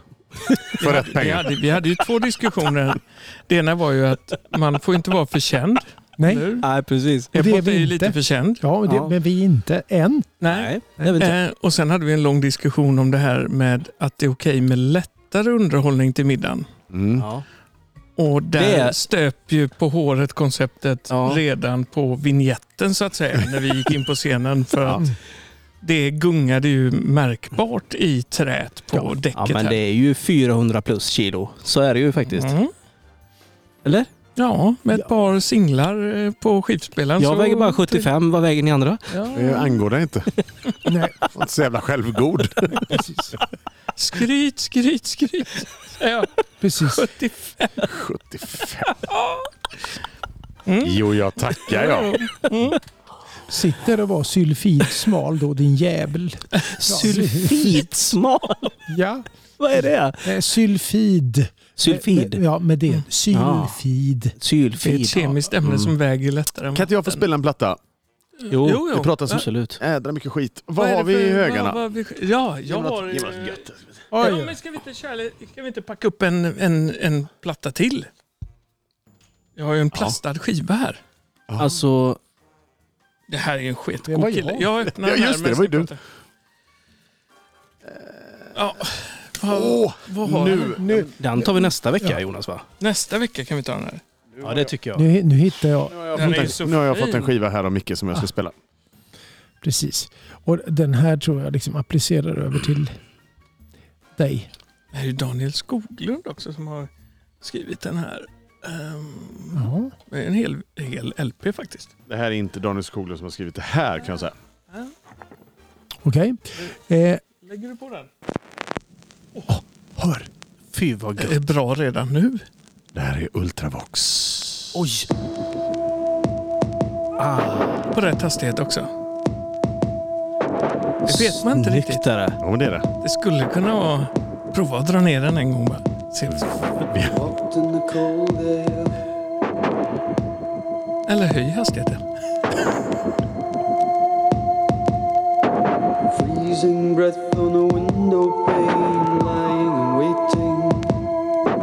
S2: För rätt
S3: vi,
S2: pengar.
S3: hade, vi hade ju två diskussioner. Det ena var ju att man får inte vara för känd.
S1: Nej.
S3: eller hur?
S4: Nej, precis.
S1: är
S3: Ebbot är,
S1: vi
S3: ju
S1: inte.
S3: lite för känd.
S1: Ja, men, det,
S4: Ja.
S1: men vi är inte än.
S3: Nej.
S4: Nej, det är väl inte.
S3: Eh, och sen hade vi en lång diskussion om det här med att det är okej med lättare underhållning till middagen.
S2: Mm.
S4: Ja.
S3: Och där
S4: Det är-
S3: stöp ju på håret konceptet
S4: Ja.
S3: redan på vignetten så att säga, när vi gick in på scenen. För att det gungade ju märkbart i träet på
S1: Ja,
S3: däcket
S4: ja, men
S3: här.
S4: det är ju 400 plus kilo. Så är det ju faktiskt.
S3: Mm.
S4: Eller?
S3: Ja, med ett
S1: Ja.
S3: par singlar eh, på skivspelaren.
S4: Jag
S3: så-
S4: väger bara 75. Vad väger ni andra?
S2: Det
S3: Ja.
S2: angår dig inte.
S1: Nej,
S2: Var inte så jävla självgod.
S1: precis.
S3: typ Skryt, skryt, skryt. Ja,
S1: precis.
S3: 75.
S2: 75.
S3: Mm.
S2: Jo, jag tackar jag.
S1: Sitter och var sylfidsmal då din jävel.
S4: Sylfitsmak?
S1: Ja,
S4: Vad är det?
S1: eh, sylfid. Eh,
S4: Sylfid?
S1: Ja, med det. Sylfid.
S3: Det är
S4: Sylfid.
S3: ett kemiskt ämne som väger lättare. än
S2: Kan inte jag få
S3: vatten.
S2: spela en platta?
S4: Jo,
S3: Jo, jo.
S2: Det pratas om så
S4: Absolut.
S2: jädra mycket skit. Vad,
S3: är
S2: har
S3: det
S2: vi
S3: för-
S2: i högarna?
S3: vad- vad vi- Ja, jag
S2: Ge mig något-
S3: har...
S2: ge mig
S3: eh,
S2: något gött.
S3: Ja, men ska vi inte, köra, lite- ska vi inte packa upp en, en, en platta till? Jag har ju en plastad skiva här.
S4: Alltså,
S3: Det här är ju en
S1: Det var
S3: sketgod
S1: jag.
S3: kille. Jag öppnar
S2: Ja,
S3: den här,
S2: just det,
S3: men
S2: det var ju
S3: ska
S2: du.
S3: prata. Ja, vad,
S2: Åh,
S3: vad har
S2: nu.
S3: nu.
S1: Nu,
S4: den tar vi nästa vecka
S1: Ja.
S4: Jonas va?
S3: Nästa vecka kan vi ta den här.
S4: Ja, det tycker jag.
S1: nu, nu hittar jag.
S3: Den är ju så
S2: Nu har jag fått
S3: fin.
S2: en skiva här av Micke som jag ska spela.
S1: Precis. Och den här tror jag liksom applicerar över till dig.
S3: Det här är ju Daniel Skoglund också som har skrivit den här. Ehm,
S1: Ja.
S3: det är en hel, hel LP faktiskt.
S2: Det här är inte Daniel Skoglund som har skrivit det här kan jag säga.
S1: Okej. Eh,
S3: Lägger du på den?
S1: hör.
S4: Fy vad
S3: Det är bra redan nu.
S2: Det här är Ultravox.
S4: Oj!
S3: På rätt hastighet också. Det vet man inte riktigt.
S4: Snyggt är det.
S2: Ja, men det är det.
S3: Det skulle kunna vara... Prova att dra ner den en gång bara. Se. Eller höj hastigheten.
S9: Freezing breath on a window pane, lying and waiting.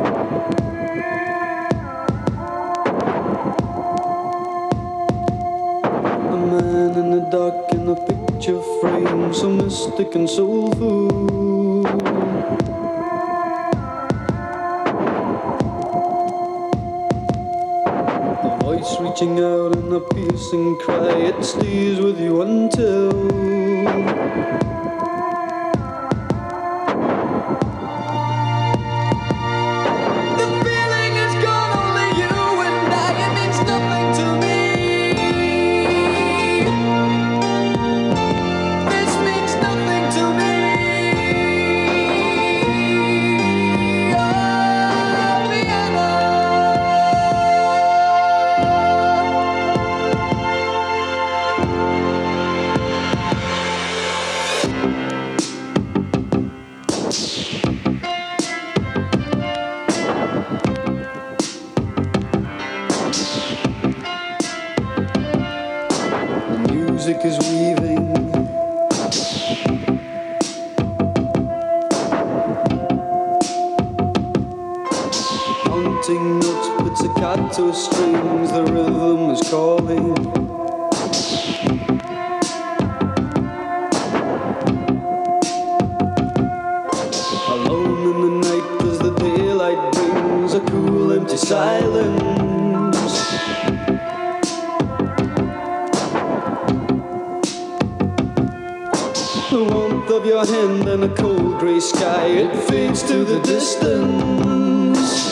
S9: A man in the dark in a picture frame, so mystic and soulful. A voice reaching out in a piercing cry, it stays with you until. The feeling is gone, only you and I. It means nothing to me. This means nothing to me. Oh, Only Anna. silk is weaving. Counting notes with staccato strings, the rhythm is calling. Alone in the night as the daylight brings a cool empty silence. The warmth of your hand and a cold grey sky, it fades to the distance.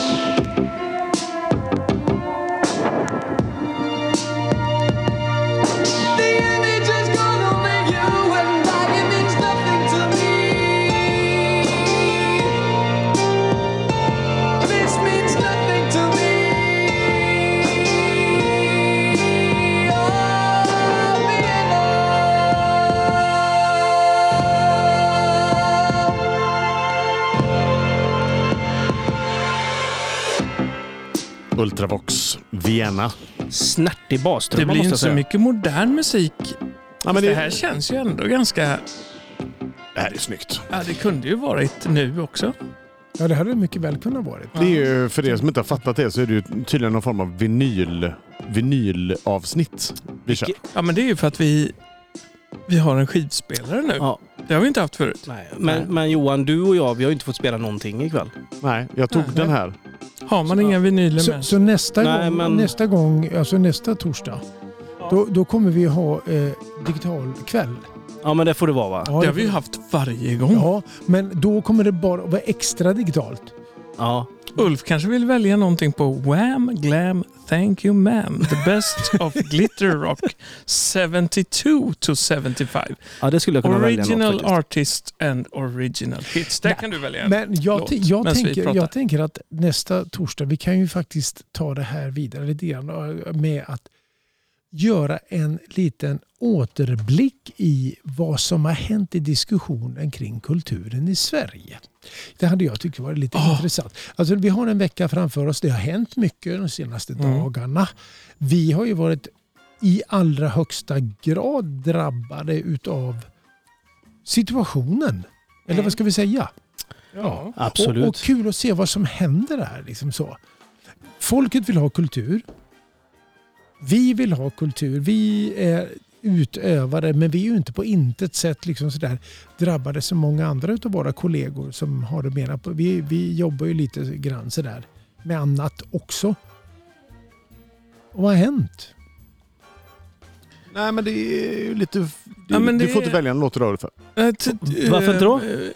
S8: The image is gone over you and I, it means nothing to me. This means nothing to me. Oh, me and
S2: Ultravox, Vienna.
S4: Snärtig
S3: Det
S4: bastrumma
S3: blir
S4: måste
S3: ju inte
S4: jag
S3: så
S4: säga.
S3: mycket modern musik.
S2: Ja, men
S3: det
S2: det,
S3: här känns ju ändå ganska...
S2: det här är snyggt.
S3: Ja, det kunde ju varit nu också.
S1: Ja, det hade det mycket väl kunnat varit.
S2: Det är ju, för er som inte har fattat det så är det ju tydligen någon form av vinyl, vinylavsnitt vi kör.
S3: Ja, men det är ju för att vi, vi har en skivspelare nu.
S4: Ja.
S3: Det har vi inte haft förut.
S4: Nej, men, men Johan, du och jag, vi har ju inte fått spela någonting ikväll.
S2: Nej, jag tog
S3: Nej.
S2: den här.
S3: Har man inga vinyler
S1: Så,
S3: med?
S1: så nästa,
S4: Nej,
S1: gång,
S4: men-
S1: nästa gång, alltså nästa torsdag, då, då kommer vi ha eh, digital kväll.
S4: Ja, men det får det vara va?
S1: Ja,
S3: Det
S1: det-
S3: har vi ju haft varje gång.
S1: Ja, men då kommer det bara vara extra digitalt.
S4: Ja.
S3: Ulf kanske vill välja någonting på Wham, Glam, Thank You Man, The Best of Glitter Rock 72 to 75.
S4: ja, det skulle jag kunna välja
S3: Original
S4: något, faktiskt.
S3: Artist and Original Hits. Där
S1: Nej,
S3: kan du välja en.
S1: Men jag,
S3: låt
S1: t- jag,
S3: medan vi
S1: tänker,
S3: pratar.
S1: jag tänker att nästa torsdag, vi kan ju faktiskt ta det här vidare lite grann eh, med att göra en liten återblick i vad som har hänt i diskussionen kring kulturen i Sverige. Det hade jag tyckt varit lite
S3: Ah.
S1: intressant. Alltså, vi har en vecka framför oss. Det har hänt mycket de senaste
S3: Mm.
S1: dagarna. Vi har ju varit i allra högsta grad drabbade utav situationen. Eller
S3: Mm.
S1: vad ska vi säga?
S3: Ja.
S4: Absolut.
S1: Och, och kul att se vad som händer där. Liksom så. Folket vill ha kultur. Vi vill ha kultur. Vi är utövare men vi är ju inte på intet sätt liksom sådär drabbade som många andra utav våra kollegor som har det mera på. Vi, vi jobbar ju lite grann sådär med annat också. Och vad har hänt?
S2: Nej, men det är ju lite... Det,
S3: Ja, men
S2: du
S3: det
S2: får
S3: är-
S2: inte välja en låt du rör dig för.
S3: Eh, t- t-
S4: Varför inte då?
S3: eh,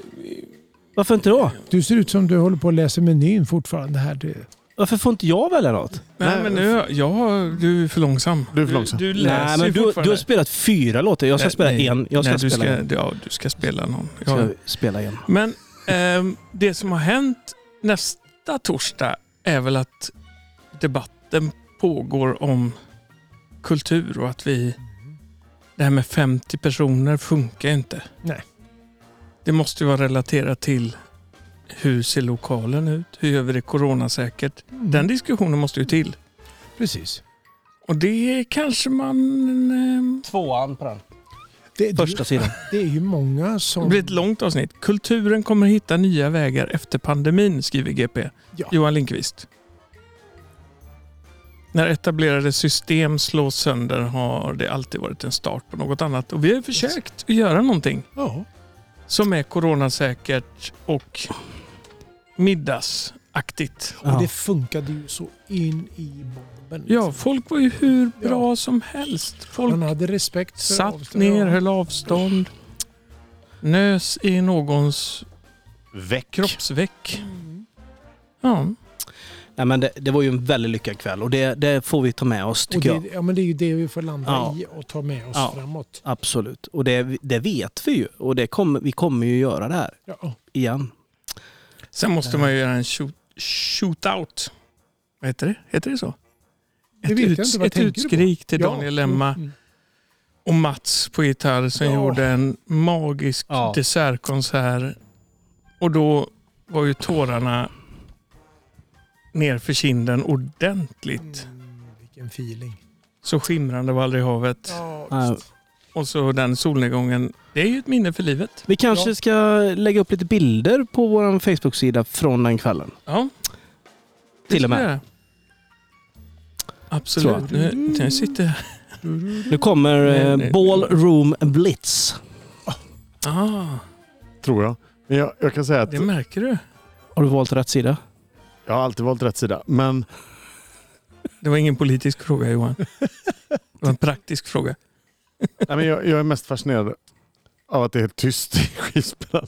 S4: Varför inte då?
S1: Du ser ut som du håller på att läsa menyn fortfarande här. Du.
S4: Varför får inte jag välja något?
S3: Nej, men nu, jag, du är för långsam.
S2: Du är för långsam.
S3: Du, du läser
S4: Nej, men
S3: ju
S4: du, du har
S3: fortfarande.
S4: spelat fyra låtar. Jag ska
S3: Nej,
S4: spela
S3: nej.
S4: en. Jag ska
S3: Nej, du
S4: spela
S3: ska,
S4: en.
S3: ja, du ska spela någon.
S4: Ska
S3: Ja.
S4: jag spela en.
S3: Men ehm, det som har hänt nästa torsdag är väl att debatten pågår om kultur och att vi... Det här med 50 personer funkar ju inte.
S1: Nej.
S3: Det måste ju vara relaterat till hur ser lokalen ut? Hur gör vi det coronasäkert? Den diskussionen måste ju till.
S1: Precis.
S3: Och det kanske man... ehm,
S4: Tvåan på den.
S1: Det, det,
S4: Första sidan.
S1: det är ju många som...
S3: Det blir ett långt avsnitt. Kulturen kommer hitta nya vägar efter pandemin, skriver GP.
S1: Ja.
S3: Johan Lindqvist. När etablerade system slås sönder har det alltid varit en start på något annat. Och vi har ju försökt att göra någonting
S1: Ja.
S3: som är coronasäkert och middagsaktigt.
S1: Och
S4: Ja.
S1: det funkade ju så in i bomben. liksom.
S3: Ja, folk var ju hur bra som helst. Folk
S1: Man hade respekt för
S3: satt
S1: avstånd.
S3: ner,
S1: Ja.
S3: höll avstånd, nös i någons
S2: Väck.
S3: kroppsveck.
S1: Mm.
S3: Ja.
S4: Nej, men det, det var ju en väldigt lyckad kväll och det, det får vi ta med oss
S1: Och
S4: tycker jag.
S1: det, ja, men det är ju det vi får landa
S4: Ja.
S1: i och ta med oss
S4: Ja.
S1: framåt.
S4: Absolut. Och det, det vet vi ju. Och det kommer- vi kommer ju göra det här
S1: Ja.
S4: igen.
S3: Sen måste man ju göra en shoot, shootout. Vad heter det? Heter det så?
S1: Det vet jag inte. Vad
S3: ett
S1: tänker du på?
S3: utskrik till
S1: Ja.
S3: Daniel Lemma
S1: Mm.
S3: och Mats på gitarr som
S1: Ja.
S3: gjorde en magisk
S4: Ja.
S3: dessertkonsert. Och då var ju tårarna ner för kinden ordentligt.
S1: Mm, vilken feeling.
S3: Så skimrande var aldrig havet.
S1: Ja,
S4: Nej,
S1: visst.
S3: Och så den solnedgången. Det är ju ett minne för livet.
S4: Vi kanske ska lägga upp lite bilder på vår Facebook-sida från den kvällen.
S3: Ja. det
S4: Till och
S3: ska
S4: med.
S3: vi göra. Absolut.
S4: Så.
S3: Nu, nu sitter jag...
S4: Nu kommer
S3: Nej,
S4: eh,
S3: nej.
S4: Ballroom Blitz.
S3: Ah,
S2: tror jag. Men jag, jag kan säga att
S3: det märker du.
S4: Har du valt rätt sida?
S2: jag har alltid valt rätt sida. Men
S3: Det var ingen politisk fråga Johan. Det var en praktisk fråga.
S2: Nej, men jag, jag är mest fascinerad av att det är helt tyst i skivspelaren.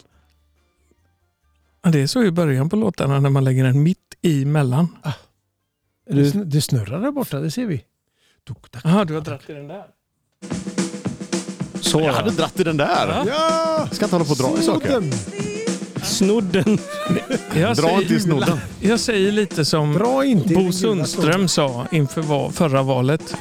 S3: Ja, det är så i början på låtarna när man lägger den mitt i mellan.
S1: Det sn- Det snurrar där borta, det ser vi. Tuk, tak.
S3: Jaha, du har dragit i den där.
S4: Så
S2: Jag
S4: ja.
S2: hade dratt i den där.
S1: Ja!
S2: Jag ska inte hålla på och dra i saker.
S1: Snodden!
S4: Snodden.
S3: Jag
S2: Dra inte i
S3: säger,
S2: snodden.
S3: jag säger lite som
S1: Dra inte i den
S3: Bo
S1: gula
S3: Sundström sa inför va- förra valet.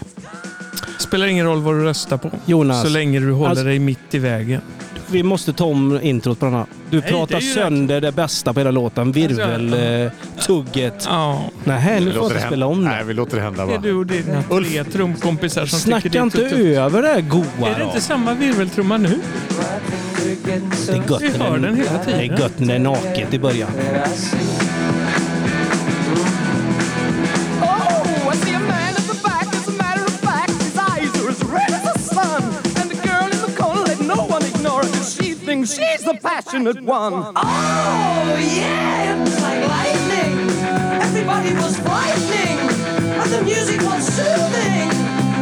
S3: Spelar ingen roll vad du röstar på.
S4: Jonas,
S3: Så länge du håller
S4: Alltså-
S3: dig mitt i vägen.
S4: vi måste ta om introt på den här. Du
S3: Nej,
S4: pratar
S3: det är ju
S4: sönder det bästa på hela låten. Virveltugget.
S3: Ja,
S4: Nej, nu
S2: Vi
S4: får jag
S2: låter det
S4: inte spela
S2: hända.
S4: om
S2: Nej,
S4: det.
S2: vi låter det hända
S3: det är
S2: bara.
S3: du och dina tre trumkompisar som tycker det
S4: Snacka
S3: är
S4: inte
S3: tufft.
S4: över det här goa
S3: Är det
S4: då.
S3: inte samma virveltrumma nu?
S4: Det är gött
S3: Vi hör
S4: när
S3: den hela tiden.
S4: Det är gött när det är naket i början.
S11: Oh, I see a man at the back. As a matter of fact, his eyes are as red as the sun. And the girl in the corner, let no one ignore her. 'cause She thinks she's the passionate one.
S8: Oh yeah, it was like lightning. Everybody was frightening, and the music was soothing,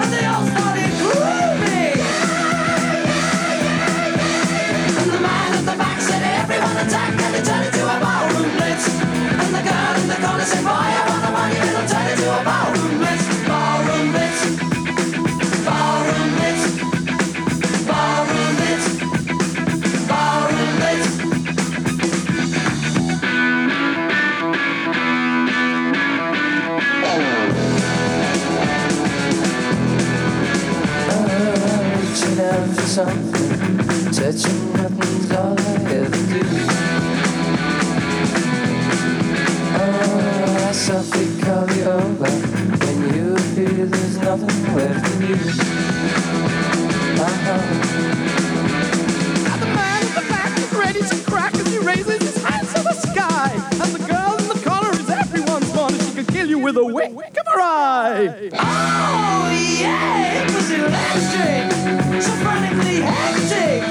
S8: and they all started grooving. And the man at the back said, "Everyone attack!" And it turned into a ballroom blitz. And the girl in the corner said, "Boy, I want the money, it'll turn into a ballroom blitz, ballroom blitz, ballroom blitz, ballroom blitz, ballroom blitz."
S11: Reaching out for something, touching nothing's all I ever do. Oh, I softly call you over. When you appear, there's nothing left of you. Uh-huh.
S8: And the man in the back is ready to crack as he raises his hands to the sky. And the girl in the corner is everyone's one. She could kill you with a wink of her eye. Oh, yeah, it was electric. So frantically hectic.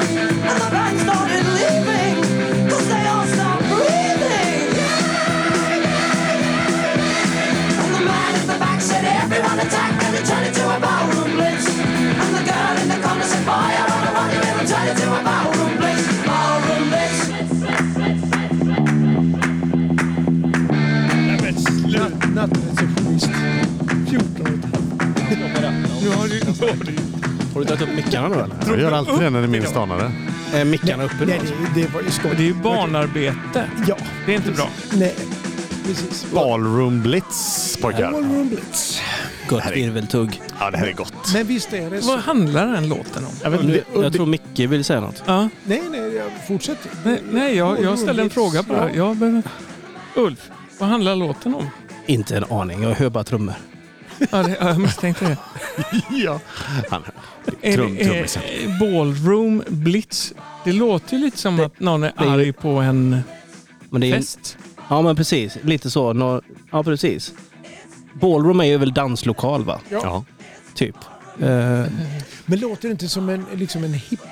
S8: And the band started leaving. Cause they all stopped breathing. And the man in the back said, everyone attack. And it turned into a ballroom blitz. And the girl in the corner said, boy, I want to run you. It'll turn into a ballroom blitz. Ballroom blitz.
S1: Natt- Nattreceptionist. 14
S3: Nu har du, nu har du.
S4: Har du tagit upp mickarna nu eller?
S2: Jag gör alltid det när det är minst anar det.
S4: Är mickarna uppe nu?
S1: Nej, det, det var ju skoj.
S3: Det är ju barnarbete.
S1: Ja.
S3: Det är inte bra.
S1: Nej, precis.
S2: Ballroom Blitz pojkar.
S1: Ballroom Blitz.
S4: Gott virveltugg.
S2: Ja, det här är gott.
S1: Men visst är det
S3: Vad
S1: så.
S3: handlar den låten om?
S2: Jag, vet,
S4: Nu,
S2: inte, det,
S4: jag
S2: det,
S4: tror Micke vill säga något.
S3: Ja,
S1: Nej, nej, jag fortsätter.
S3: nej, nej, jag, jag ställde en
S1: Blitz.
S3: fråga bara.
S1: Ja.
S3: Jag behöver... Ulf, vad handlar låten om?
S4: Inte en aning. Jag hör bara trummor.
S3: Ja, det, ja, jag misstänkte det.
S2: ja. Han,
S3: Är
S2: Trum-
S3: det
S2: trummisen.
S3: är, ballroom blitz? Det låter ju lite som att någon är
S4: det är ju-
S3: arg på en
S4: Men det är,
S3: fest.
S4: ja men precis. Lite så. Nå- Ja precis. Ballroom är ju väl danslokal va?
S2: ja.
S4: Typ. Eh,
S1: Men låter det inte som en, liksom en hippa?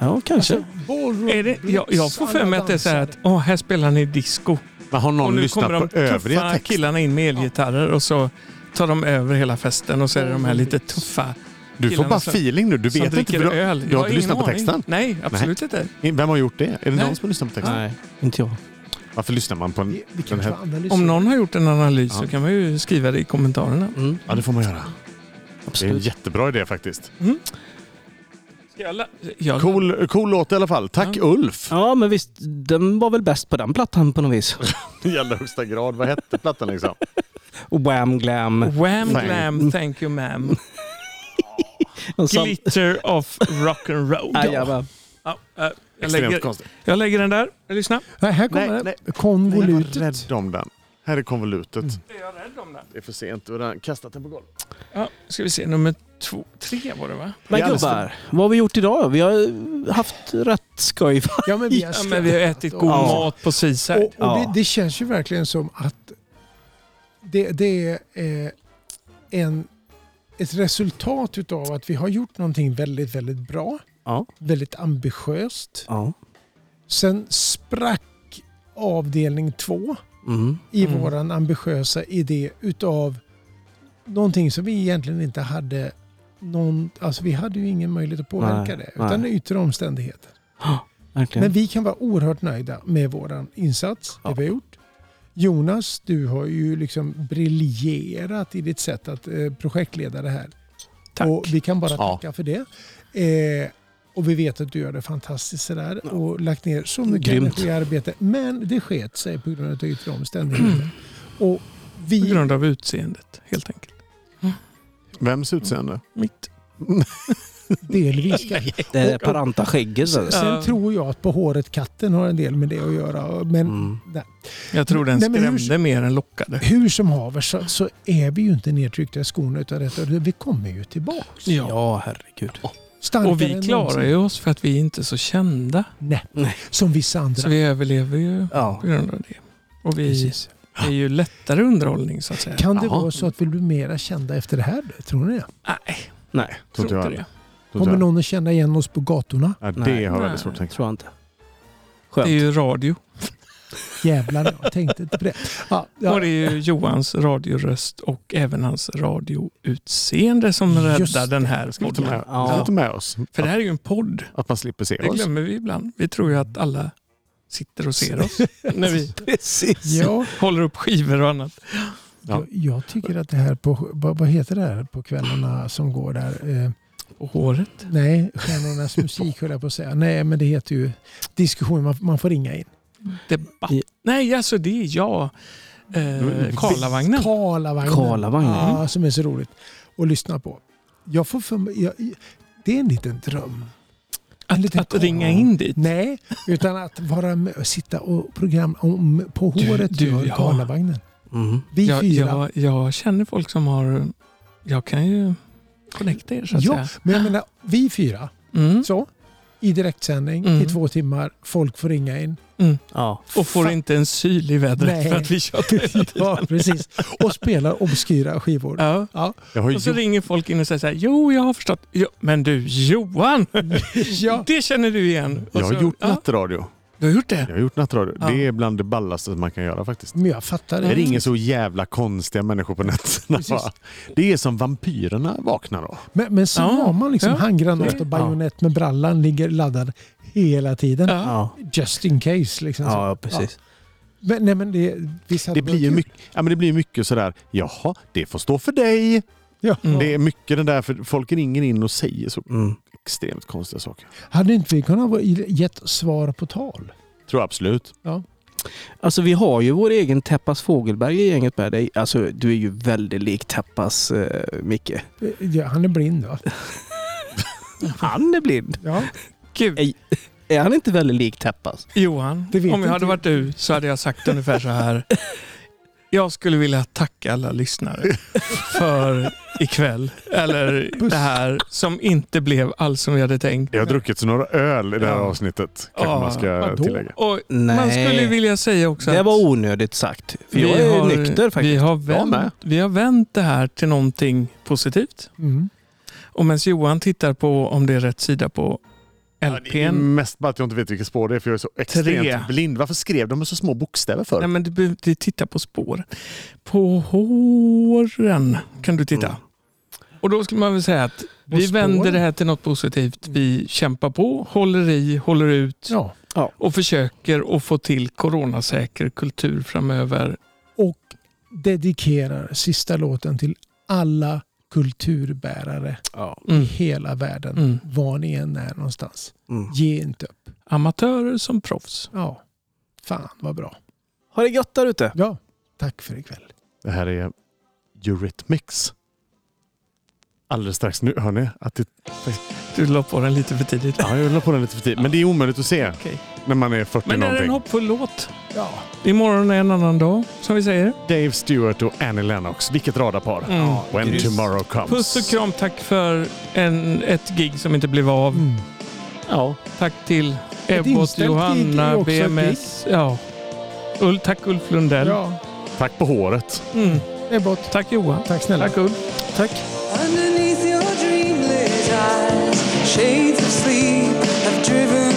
S4: ja kanske.
S1: Alltså, ballroom
S3: Är det, jag, jag får för mig att det är så här att åh, här spelar ni disco.
S2: Men har
S3: Och
S2: någon
S3: nu
S2: lyssnat
S3: kommer de
S2: på övriga
S3: tuffa
S2: texter?
S3: killarna in med elgitarrer och så tar de över hela festen och så är det de här lite tuffa
S2: Du får
S3: killarna
S2: bara
S3: som-
S2: feeling nu. Du
S3: som
S2: vet inte.
S3: dricker
S2: för Du,
S3: öl.
S2: du
S3: Jag ingen
S2: har inte lyssnat på
S3: aning.
S2: texten?
S3: Nej, absolut inte.
S2: Vem har gjort det? Är det
S3: Nej.
S2: någon som har lyssnat på texten?
S4: Nej, inte jag.
S2: Varför lyssnar man på en...
S1: Vi, vi
S2: den
S1: kan
S2: här-
S1: få analysera.
S3: Om någon har gjort en analys så
S2: Ja.
S3: kan man ju skriva det i kommentarerna.
S4: Mm,
S2: Ja, det får man göra. Det är en
S4: absolut.
S2: jättebra idé faktiskt.
S3: Mm. Jag, jag,
S2: Cool, cool låt i alla fall. Tack Ulf!
S4: Ja men visst. Den var väl bäst på den plattan på något vis.
S2: I allra högsta grad. Vad hette plattan liksom?
S4: Wham glam.
S3: Wham
S2: Thank-
S3: glam, thank you ma'am.
S4: Och så-
S3: Glitter of rock and roll.
S1: Ah,
S4: Jajamän.
S3: Ja, eh, jag,
S2: Extremt
S3: lägger,
S2: konstigt.
S3: jag lägger den där. Lyssna.
S1: Nej, här kommer
S2: Nej,
S1: den. Konvolutet.
S2: Jag var rädd om den. Här är
S3: Är
S2: konvolutet.
S3: jag rädd om den?
S2: Det är för sent. Du har redan kastat den på golvet.
S3: Ja, ska vi se. Nummer två, tre var det va?
S4: Men
S2: Ja, det
S4: gubbar, vad har vi gjort idag? Vi har haft rätt skoj. va?
S1: Ja, men vi har,
S3: Ja, men vi har ätit god
S4: Ja.
S3: mat på Caesar.
S1: Och, och
S4: Ja.
S1: det, det känns ju verkligen som att det, det är eh, en, ett resultat utav att vi har gjort någonting väldigt, väldigt bra.
S4: Ja.
S1: Väldigt ambitiöst.
S4: Ja.
S1: Sen sprack avdelning två
S4: Mm.
S1: i
S3: Mm.
S1: våran ambitiösa idé utav någonting som vi egentligen inte hade någon, alltså vi hade ju ingen möjlighet att
S4: Nej,
S1: påverka det, utan det
S4: nej.
S1: är yttre omständigheter.
S4: Verkligen.
S1: Men vi kan vara oerhört nöjda med våran insats,
S4: Ja.
S1: det vi har gjort. Jonas, du har ju liksom briljerat i ditt sätt att eh, projektleda det här.
S4: Tack.
S1: Och vi kan bara
S2: Ja.
S1: tacka för det. Eh, och vi vet att du gör det fantastiskt sådär och lagt ner så mycket
S4: Grymt.
S1: energi i arbete. Men det sket sig på grund av yttre omständigheter. Och
S3: På
S1: vi,
S3: grund av utseendet helt enkelt.
S2: Vems utseende?
S3: Mitt.
S1: delvis kanske.
S4: Det är paranta skägget. så.
S1: Sen
S3: Ja.
S1: tror jag att på håret katten har en del med det att göra. Men
S4: Mm.
S3: Jag tror den
S1: Nej, men hur-
S3: skrämde mer än lockade.
S1: hur som haver så, så är vi ju inte nedtryckta i skorna utan detta. Vi kommer ju tillbaks.
S4: Ja, herregud.
S1: Starkare
S3: Och
S1: än
S3: vi klarar
S1: någonsin.
S3: ju oss för att vi inte är så kända.
S1: Nej.
S4: Nej.
S1: Som vissa andra.
S3: Så vi överlever ju
S4: Ja.
S3: på grund av det. Och vi
S1: Precis.
S3: är ju lättare underhållning så att säga.
S1: Kan det
S4: Jaha.
S1: vara så att vi blir mera kända efter det här? då? Tror ni det?
S3: Nej,
S4: Nej,
S3: tror inte
S2: jag.
S3: det.
S2: Tror
S1: Kommer
S2: inte jag.
S1: någon att känna igen oss på gatorna?
S2: Ja,
S4: Nej.
S2: det har jag väldigt svårt att tänka.
S4: tror jag inte.
S3: Det är
S4: Skönt.
S3: ju radio.
S1: Jävlar, jag tänkte inte på det. Ja,
S3: Och
S1: ja.
S3: det är ju Johans radioröst och även hans radioutseende som
S1: Just
S3: räddar
S1: det.
S3: den här
S2: Ska vi ta med,
S3: podden.
S4: Ja.
S2: ska vi ta med oss?
S3: För det
S2: Att,
S3: här är ju en podd.
S2: att man slipper se
S3: Det
S2: oss.
S3: glömmer vi ibland. Vi tror ju att alla sitter och ser oss när vi
S4: Precis.
S1: Ja,
S3: håller upp skivor och annat.
S1: jag, jag tycker att det här på, vad, vad heter det här på kvällarna som går där? Eh,
S3: Och håret.
S1: nej, Stjärnornas musik höll jag på att säga. Nej, men det heter ju diskussion, man, man får ringa in.
S3: Debatt.
S4: Ja.
S3: Nej, alltså det är jag.
S1: Mm,
S3: Eh, Karlavagnen.
S1: Karlavagnen.
S4: Karlavagnen.
S1: Ja, som är så roligt att lyssna på. Jag får för mig, jag, det är en liten dröm. En
S3: Att,
S1: liten
S3: att ringa in dit.
S1: Nej, utan att vara med och sitta och program om, på
S3: Du-
S1: håret
S3: du,
S1: gör
S3: ja.
S1: Karlavagnen.
S4: Mm.
S1: Vi
S3: Jag,
S1: fyra.
S3: jag, jag känner folk som har... Jag kan ju connecta er så att
S1: ja,
S3: säga.
S1: men jag menar, vi fyra.
S3: Mm,
S1: Så, I direktsändning
S3: Mm.
S1: i två timmar. Folk får ringa in.
S4: Ja.
S3: och får inte en syl i vädret
S1: Nej.
S3: för att vi kör på hela tiden.
S1: ja, precis. Och spelar obskyra skivor.
S3: Ja.
S2: Jag har ju
S3: Och så
S2: gjort,
S3: ringer folk in och säger så här, jo jag har förstått. Jo, men du Johan,
S1: Ja.
S3: det känner du igen. Och
S2: jag har
S3: så,
S2: gjort
S3: ja,
S2: nattradio.
S3: Du har gjort det?
S2: Jag har gjort nattradio.
S3: Ja. Mm.
S2: Det är bland det ballaste man kan göra faktiskt.
S1: Men jag fattar
S2: Det
S1: det.
S2: ringer så jävla konstiga människor på nätterna.
S1: Precis.
S2: va? Det är som vampyrerna vaknar då.
S1: Men, men så
S3: Ja.
S1: har man liksom
S3: Ja.
S1: handgranat och bajonett med brallan ligger laddad hela tiden.
S3: Ja.
S4: Ja.
S1: Just in case. Liksom. så.
S4: ja, precis.
S1: Men, nej, men det, visst hade
S2: Det
S1: varit
S2: blir ju
S1: kul.
S2: mycket, ja, men det blir mycket sådär, jaha, det får stå för dig.
S1: Ja.
S3: Mm.
S2: Det är mycket den där, för folk ringer in och säger så
S4: Mm.
S2: extremt konstiga saker.
S1: Hade inte vi kunnat vara- gett svar på tal?
S2: Tror jag absolut.
S4: Alltså vi har ju vår egen Teppas Fågelberg i gänget med dig. Alltså du är ju väldigt lik Teppas eh, Micke.
S1: Ja, han är blind va?
S4: Han är blind.
S1: Ja.
S3: Gud,
S4: Är han inte väldigt lik Teppas?
S3: Johan,
S1: Det vet
S3: om jag
S1: inte
S3: hade
S1: jag.
S3: varit du så hade jag sagt ungefär så här. Jag skulle vilja tacka alla lyssnare för ikväll. Eller
S1: Puss.
S3: det här som inte blev alls som vi hade tänkt.
S2: Jag har druckit så några öl i det här
S3: Ja.
S2: avsnittet, kanske
S3: Ja,
S2: man ska
S1: vadå?
S2: tillägga.
S3: Och
S4: Nej.
S3: man skulle vilja säga också
S4: Det
S3: att
S4: var onödigt sagt. För jag
S3: vi
S4: är
S3: har-
S4: nykter faktiskt.
S3: Vi har,
S2: Jag med.
S3: vänt, vi har vänt det här till någonting positivt.
S1: Mm.
S3: Och medan Johan tittar på om det är rätt sida på
S2: Det är
S3: LPn.
S2: mest bara att jag inte vet vilket spår det är för jag är så extremt
S3: Tre.
S2: blind. Varför skrev de med så små bokstäver för?
S3: Nej, men du behöver inte titta på spår. På håren kan du
S2: Mm.
S3: titta. Och då skulle man väl säga att vi
S1: spår?
S3: vänder det här till något positivt. Vi kämpar på, håller i, håller ut
S1: ja.
S3: och försöker att få till coronasäker kultur framöver.
S1: Och dedikerar sista låten till alla kulturbärare
S4: Ja.
S1: i
S3: Mm.
S1: hela världen.
S3: Mm.
S1: Var ni än är någonstans.
S4: Mm.
S1: Ge inte upp.
S3: Amatörer som proffs.
S1: Ja. Fan vad bra.
S4: Har det gött där ute.
S1: Ja. Tack för ikväll.
S2: Det här är Eurythmics. Alldeles strax nu, hör ni? Att det...
S3: Du la på den lite för tidigt.
S2: Ja, jag la på den lite för tidigt. Men det är omöjligt att se
S3: Okej.
S2: när man är 40
S3: Men är det en
S2: någonting.
S3: hoppfull låt?
S1: Ja.
S3: Imorgon är en annan dag, som vi säger.
S2: Dave Stewart och Annie Lennox. Vilket radarpar.
S3: Mm.
S2: When
S12: Grymt.
S2: tomorrow comes.
S3: Puss och kram. Tack för en, ett gig som inte blev av.
S1: Mm.
S3: Ja. Tack till Ebbot,
S1: inställt gig är
S3: Johanna,
S1: också ett
S3: BMS. Ja. Ul, tack Ulf Lundell.
S1: Ja,
S2: Tack på håret.
S3: Mm.
S1: Ebbot.
S3: Tack Johan.
S1: Tack snälla.
S3: Tack Ulf.
S4: Tack.
S8: Underneath your dreamlit eyes, shades of sleep have driven